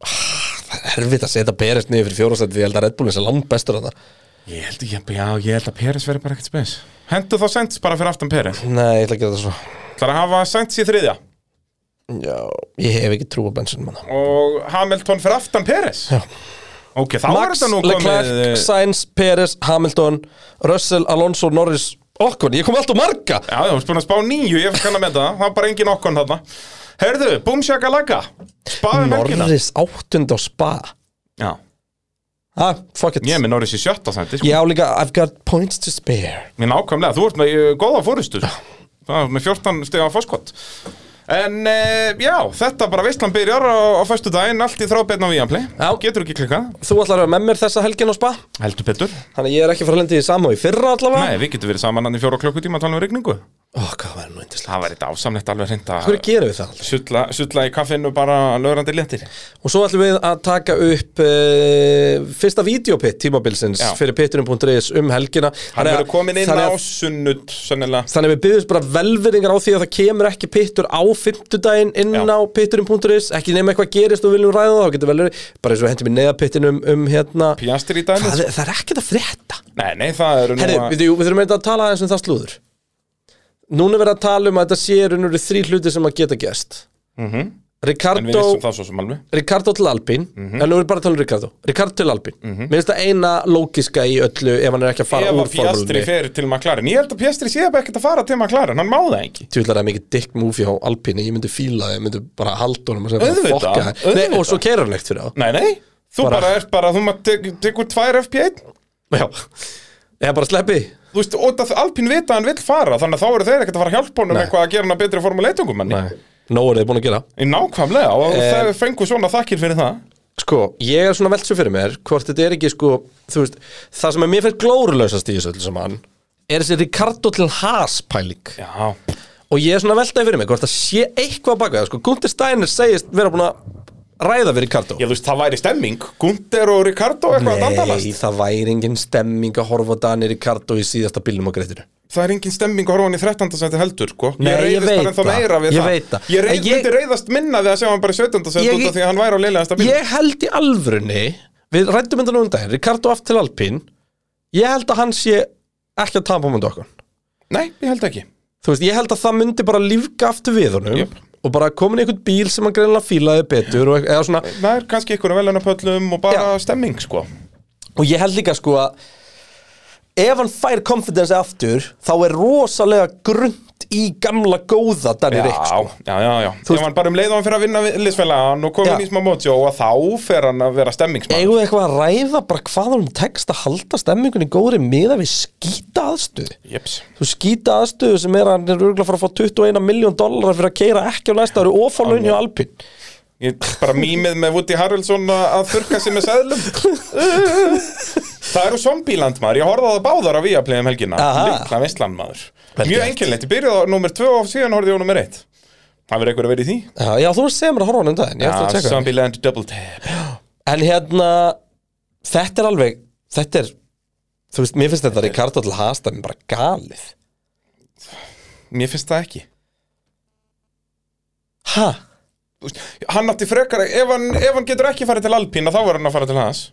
S1: Það er erfitt að setja Peres niður fyrir fjórastætti Því ég held að Red Bullin sé langt bestur að það
S2: Ég held, ég, já, ég held að Peres verið bara ekkert spes Hentu þá Sainz bara fyrir aftan Peres
S1: Nei, ég ætla að gera það svo
S2: Það er að hafa Sainz í þriðja
S1: Já, ég hef ekki trú á bensin manna
S2: og Hamilton fyrir aftan Peres
S1: Já.
S2: Ok, þá er
S1: Max,
S2: þetta nú
S1: Leclerc,
S2: komið eh,
S1: Sainz, Peres, Hamilton Russell, Alonso, Norris Okkon, ég kom alltaf marga
S2: Já, þú ert búin að spá nýju, ég kann að með það Það er bara engin okkon þarna Herðu, búmsjaka laga Spaðum helgina
S1: Norris áttund á spa
S2: Já,
S1: Ha, fuck it
S2: ég er með Norris í sjötta sendi sko.
S1: Ég á líka, I've got points to spare
S2: Mér nákvæmlega, þú ert með uh, góða fórustu Það er með 14 stiga fórskott En uh, já, þetta bara veistlan byrjar á, á föstu daginn Allt í þrábeinn á Víaplay
S1: Já.
S2: Getur ekki klikkað,
S1: Þú ætlar að vera með mér þessa helgin á spa
S2: heldur betur
S1: Þannig að ég er ekki frá lendið í sama og í fyrra allavega
S2: Nei, við getum verið saman hann í fjóra klukkutíma að tala um rigningu
S1: Ó, hvað var nú indislega
S2: Það var þetta ásamlegt alveg reynda
S1: Hverju gerum við það allir?
S2: Sulla, sulla í kaffinu bara lögrandi léttir
S1: Og svo ætlum við að taka upp uh, fyrsta videopitt tímabilsins
S2: Já.
S1: fyrir pitturinn.is um helgina
S2: Hann
S1: Þannig að-
S2: verður komin inn
S1: þannig
S2: á
S1: að-
S2: sunnud sennilega
S1: Þannig að við byggjum bara velverðingar á því að það kemur ekki pittur á fimmtudaginn inn
S2: Já.
S1: á pitturinn.is ekki nema eitthvað gerist og viljum ræða það þá getur vel verið, bara eins og við hendum í neðapittin um, um hérna
S2: Pjastir í dæmis
S1: það, er- það er ekkert að frétta
S2: Nei, nei, það eru nú
S1: Herri,
S2: að
S1: við, jú, við þurfum eitthvað að tala aðeins um það slúður Núna er verið að tala um að þetta sé raunur þrý hluti sem að geta gest
S2: Mhm. En við
S1: Ricardo
S2: vissum það Mhm. svo sem alveg
S1: Ricardo til Alpín en nú er bara að tala um Ricardo Ricardo til Alpín,
S2: Mhm.
S1: mér finnst það eina lógiska í öllu ef hann er ekki að fara
S2: Ef
S1: úr
S2: að Pjastri
S1: formúlunni
S2: fer til McLaren Ég held að Pjastri sé bara ekkert að fara til McLaren Hann má það ekki
S1: Tjúlar það er mikið dick move hjá Alpín ég myndi fíla það, ég myndi bara halda honum og segja bara,
S2: Auðvitað,
S1: "Fokka þér." Nei,
S2: auðvitað.
S1: og svo keira hann eitt fyrir það
S2: Nei, nei, þú
S1: Bara-
S2: bara, ert bara Þú maður tek- tekur tvær FP1
S1: Já, eða bara sleppi
S2: Þú veist, og það Alpín vita að hann vill fara Þannig að þá eru þeir ekkert að fara að hjálpa honum eitthvað að gera hann að betri formuleitungum manni
S1: Nó er þið búin að gera
S2: Í Nákvæmlega, og
S1: Eh,
S2: þeir fengu svona þakkir fyrir það
S1: Sko, ég er svona velt svo fyrir mér hvort þetta er ekki sko, þú veist það sem er mér fyrir glórulausast í þessu öllu saman er þessi Ricardo til Haas pæling
S2: Já,
S1: og ég er svona veltaði fyrir mig hvort það sé eitthvað baka það sko, Gunther Steiner segist vera búin að ræða við Ricardo
S2: ég þú veist, það væri stemming Gunther og Ricardo eitthvað að
S1: Nei,
S2: dandalast
S1: það væri engin stemming að horfa á Dani Ricardo í síðasta bílnum á greitinu
S2: það er engin stemming að horfa hann í 13. seti heldur sko.
S1: Nei, ég
S2: reiðist
S1: veit
S2: bara ennþá
S1: það.
S2: meira við
S1: Ég
S2: það
S1: veit það.
S2: ég, reyð,
S1: En ég-
S2: myndi reyðast minna við að sjá hann bara í 17. seti
S1: Ég-
S2: út af því að hann væri á leilegasta bíl
S1: Ég held í alvörunni Við rættum þetta nú um daginn, Ricardo aftur til Alpín Ég held að hann sé ekki að tapa á múndi okkur
S2: nei, ég held ekki
S1: Þú veist, ég held að það myndi bara lífga aftur við honum
S2: Jöp.
S1: Og bara komin í einhvern bíl sem hann greinlega fílaði betur og, eða svona,
S2: það er kannski ykkur að velja hann að pöllum og bara stemming sko.
S1: og ég held líka sko að Ef hann fær confidence aftur Þá er rosalega grunt beint í gamla góða Danny Rick sko.
S2: Já, já, já, já.
S1: Þú
S2: Ef
S1: veist-
S2: hann bara um leið og hann fyrir að vinna liðsfélagan
S1: Já.
S2: og komið nýsma móti og þá fer hann að vera stemmingsmann.
S1: Eigum við eitthvað að ræða bara hvað honum tekst að halda stemmingunni góðri miða við skýta aðstöðu
S2: Jeps.
S1: Þú skýta aðstöðu sem er að hann er örgulega að fara að fá 21 miljón dólarar fyrir að keira ekki á næsta ári og fá laun hjá Alpin
S2: Ég bara mýmið með Woody Harrelson að að þurka sig með seðlum Það eru zombieland maður, ég horfði á það báðar af Viaplay um helgina
S1: Aha.
S2: Lilla veistland maður
S1: Vel
S2: Mjög
S1: gert.
S2: einkennlegt, ég byrjaði á nummer 2 og síðan horfði ég á nummer 1 Það verður einhver að vera í því
S1: Já, já þú veist segja mér að horfa á hann um daginn, ég ætla að
S2: ja,
S1: tjekka það.
S2: Zombieland double tap
S1: En hérna, þetta er alveg, þetta er, þú veist, mér finnst þetta Ricardo til Haastam bara galið.
S2: Mér finnst það ekki
S1: Ha?
S2: Þú veist, Hann átti frekar, ef hann, ef hann getur ekki farið til Alpín þá var hann að fara til hans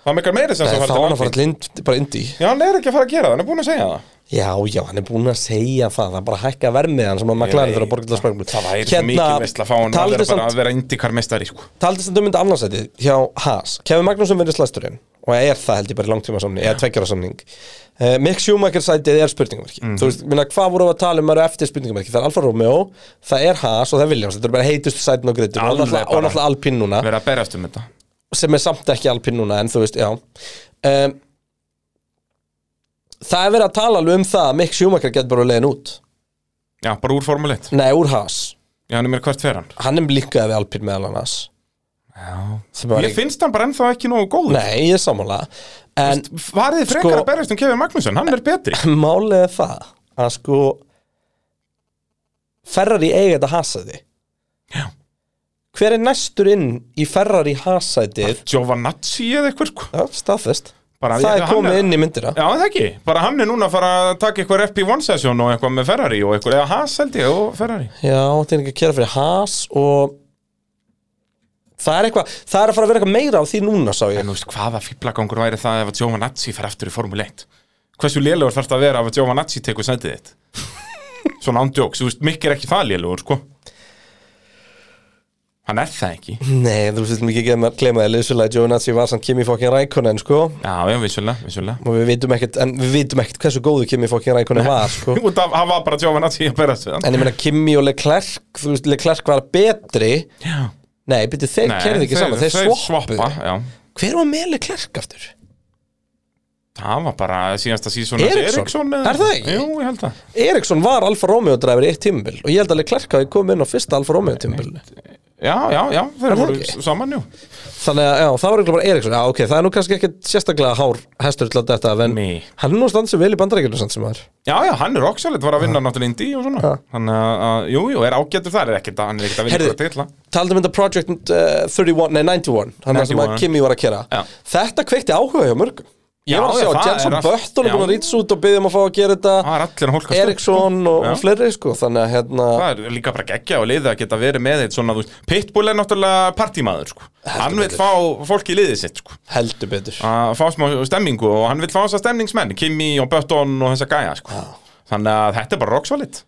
S2: Það meikar meiri sem
S1: Nei,
S2: það
S1: þá
S2: fara
S1: hann
S2: til
S1: að fara
S2: Alpín
S1: til ind- bara indi.
S2: Já, hann er ekki að fara að gera það, hann er búin að segja það
S1: Já, já, hann er búinn að segja það, það er bara að hækka vermið hann sem að maklaði fyrir að um. Hérna, borga til að sprakla.
S2: Það væri svo mikið veistla að fá hann að vera bara að vera indikar mestari sko.
S1: Taldist þetta um mynda annarsætið hjá Haas Kevin Magnússon verið slæsturinn og er það held ég bara í langtíma samning eða tveggjara samning uh, Mick Schumacher sætið er spurningamarki
S2: Mhm.
S1: Þú veist, minna, hvað voru að tala um eru eftir spurningamarki Það er Alfa Romeo, það er Haas og það er Williams Þetta eru bara heitustu sætin á gritum og
S2: Alveg
S1: náttúrulega-
S2: bara.
S1: og náttúrulega Alpine núna
S2: vera að berjast um þetta
S1: sem er samt ekki Alpine núna en þú veist, já um, Það er verið að tala alveg um það að Mick Schumacher getur bara leiðin út
S2: Já, bara úr Formule 1
S1: Nei, úr Haas
S2: Já, hann er mér hvert fer hann
S1: Hann er líkaði við Alpine meðal annars Sem var
S2: Ég finnst hann bara ennþá ekki nógu góð
S1: Nei, ég er sammála En
S2: Varðið frekar
S1: Sko-
S2: að berjast um Kevin Magnússon, hann er betri
S1: málið er það að sko Ferrari eiga þetta hasaði
S2: Já.
S1: hver er næstur inn í Ferrari hasaðið
S2: Giovanazzi eða eitthvað sko
S1: staðfest
S2: Bara-
S1: það
S2: ég-
S1: er
S2: hann
S1: komið
S2: er-
S1: inn í myndina
S2: Já, það ekki, bara hann er núna að fara að taka eitthvað FP1 sesjón og eitthvað með Ferrari og eitthvað, eða Haas held ég og Ferrari
S1: já, það er ekki að kera fyrir has og það er eitthvað það er að fara að vera eitthvað meira á því núna sá ég
S2: En þú veist, hvaða fýblagangur væri það ef að Giovanazzi fer aftur í Formule 1 Hversu lélugur þarf það að vera ef að Giovanazzi tekur sendið þitt? Svona ándjóks, þú veist, mikk er ekki það lélugur, sko Hann er það ekki
S1: nei, þú veist mikið ekki að glema það liðsvölaði Giovinazzi var samt Kimi fokkin Rækonen sko
S2: Já, já, vissulega, vissulega
S1: og við vitum ekkert, en við vitum ekkert hversu góðu Kimi fokkin Rækonen var sko
S2: Út af, hann var bara Giovanazzi að berast við hann
S1: en ég meina Kimi og Leclerc, þú veist Leclerc var betri
S2: Já
S1: Nei, byrju, þeir
S2: Nei,
S1: kerði ekki saman, þeir, swappu
S2: swappa, já.
S1: Hver var meðli klerk aftur?
S2: Það var bara síðasta sísón
S1: Eriksson? Er það ekki?
S2: Jú, ég held það
S1: Eriksson var Alfa Romeo dræfur í eitt tímabil og ég held að Leclerc hafi komið inn á fyrsta Alfa Romeo tímabilinu
S2: Já, já, já, þeir
S1: Er það
S2: voru
S1: ekki?
S2: saman, jú
S1: Þannig að, já, það var eitthvað bara Eriksson Já, ok, það er nú kannski ekkert sérstaklega hár hestur til að þetta, en
S2: Nei.
S1: hann er nú stand sem vel í bandarækjunum samt sem maður
S2: Já, já, hann er roxalit, var að vinna náttúrulega indi og svona Þannig að, að- jú, jú, er ágættur þar, er ekkert að hann er ekkert að vinna
S1: Herðu.
S2: eitthvað til
S1: Taldi mynda um Project uh, 31, nei 91 Þannig að sem að
S2: 91.
S1: Kimi var að kera
S2: Já.
S1: Þetta kveikti áhuga hjá mörgum Ég
S2: Já,
S1: var að sjá
S2: já,
S1: að
S2: það
S1: Jenson
S2: er allt-
S1: Button er búin að
S2: já. Ah,
S1: rýts út og byggðum að fá að gera
S2: Það
S1: þetta
S2: er allir að hólka
S1: Eriksson og, og fleiri, sko, þannig að hérna
S2: Það er líka bara geggja og liða að geta verið með eitt svona, þú veist, Pitbull er náttúrulega partímaður, sko Hann vil fá fólk í liðið sitt, sko
S1: heldur betur
S2: að fá smá stemmingu og hann vil fá þessa stemningsmenn Kimi og Bötton og þessa gæja sko. þannig að þetta er bara rock solid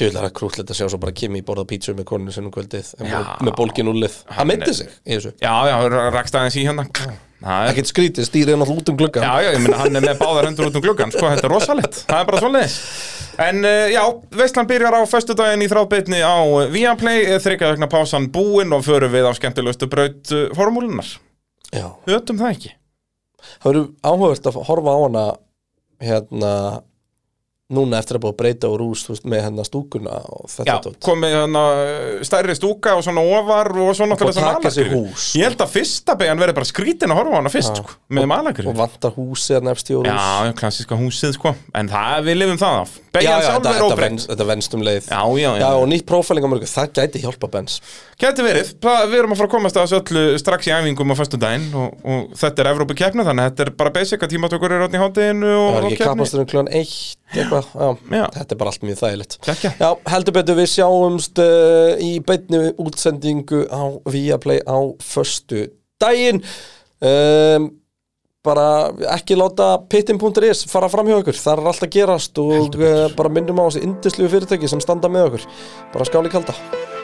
S1: Tjóðlega er krúllegt að sjá svo bara Kimi borða pítsu með koninu sinum kvöldið en
S2: Já.
S1: bara með bólkin úr lið Hann
S2: Hann er-
S1: myndi sig í þessu
S2: já, já, rakst aðeins í hérna það er
S1: Ekkert skrítið, stýrið hann alltaf út um glugga
S2: Já, já, ég meina hann er með báðar hendur út um gluggan sko, þetta er rosalegt, það er bara svoleiðis En uh, já, Veistland byrjar á föstudaginn í þráðbytni á eh, Viaplay þryggja vegna pásan búinn og förum við á skemmtilegustu braut uh, formúlunar
S1: Já.
S2: Ötum það ekki
S1: Það verður áhugavert að horfa á hana hérna núna eftir að búið að breyta úr ús þú veist, með hennar stúkuna og þetta
S2: Já,
S1: tótt
S2: komið hana, stærri stúka og svona ofar og svona
S1: Og
S2: náttúrulega
S1: taka sér
S2: malakryfur.
S1: hús.
S2: Ég held að fyrsta beigjan verði bara skrítin að horfa á hana fyrst sko, með
S1: og
S2: malagrið
S1: vantar húsið hann efst í úr ús
S2: Já, já, klassíska húsið sko En það, við lifum það af Beigjan sjálf
S1: þetta,
S2: er
S1: þetta,
S2: óbreynd
S1: venst, þetta venst um leið
S2: Já, já, já.
S1: já og nýtt prófæling á mörgu, það gæti hjálpa Benz
S2: Gæti verið, það, við erum að fara að komast að þessu öllu strax í æfingum á föstudaginn og, og þetta er Evrópu keppni þannig að þetta er bara basic að tímatökur eru átni í hátinu
S1: Það
S2: og,
S1: var
S2: og
S1: ekki kapasturinn kljóðan eitt eitthvað, já,
S2: Já.
S1: þetta er bara allt mjög þægilegt
S2: Kekja.
S1: Já, heldur betur við sjáumst uh, í beinni útsendingu á Viaplay á föstu daginn um, bara ekki láta pittin.is fara fram hjá okkur, það er allt eh, að gerast og uh, bara minnum á þessi indislu fyrirtæki sem standa með okkur bara skáli kalda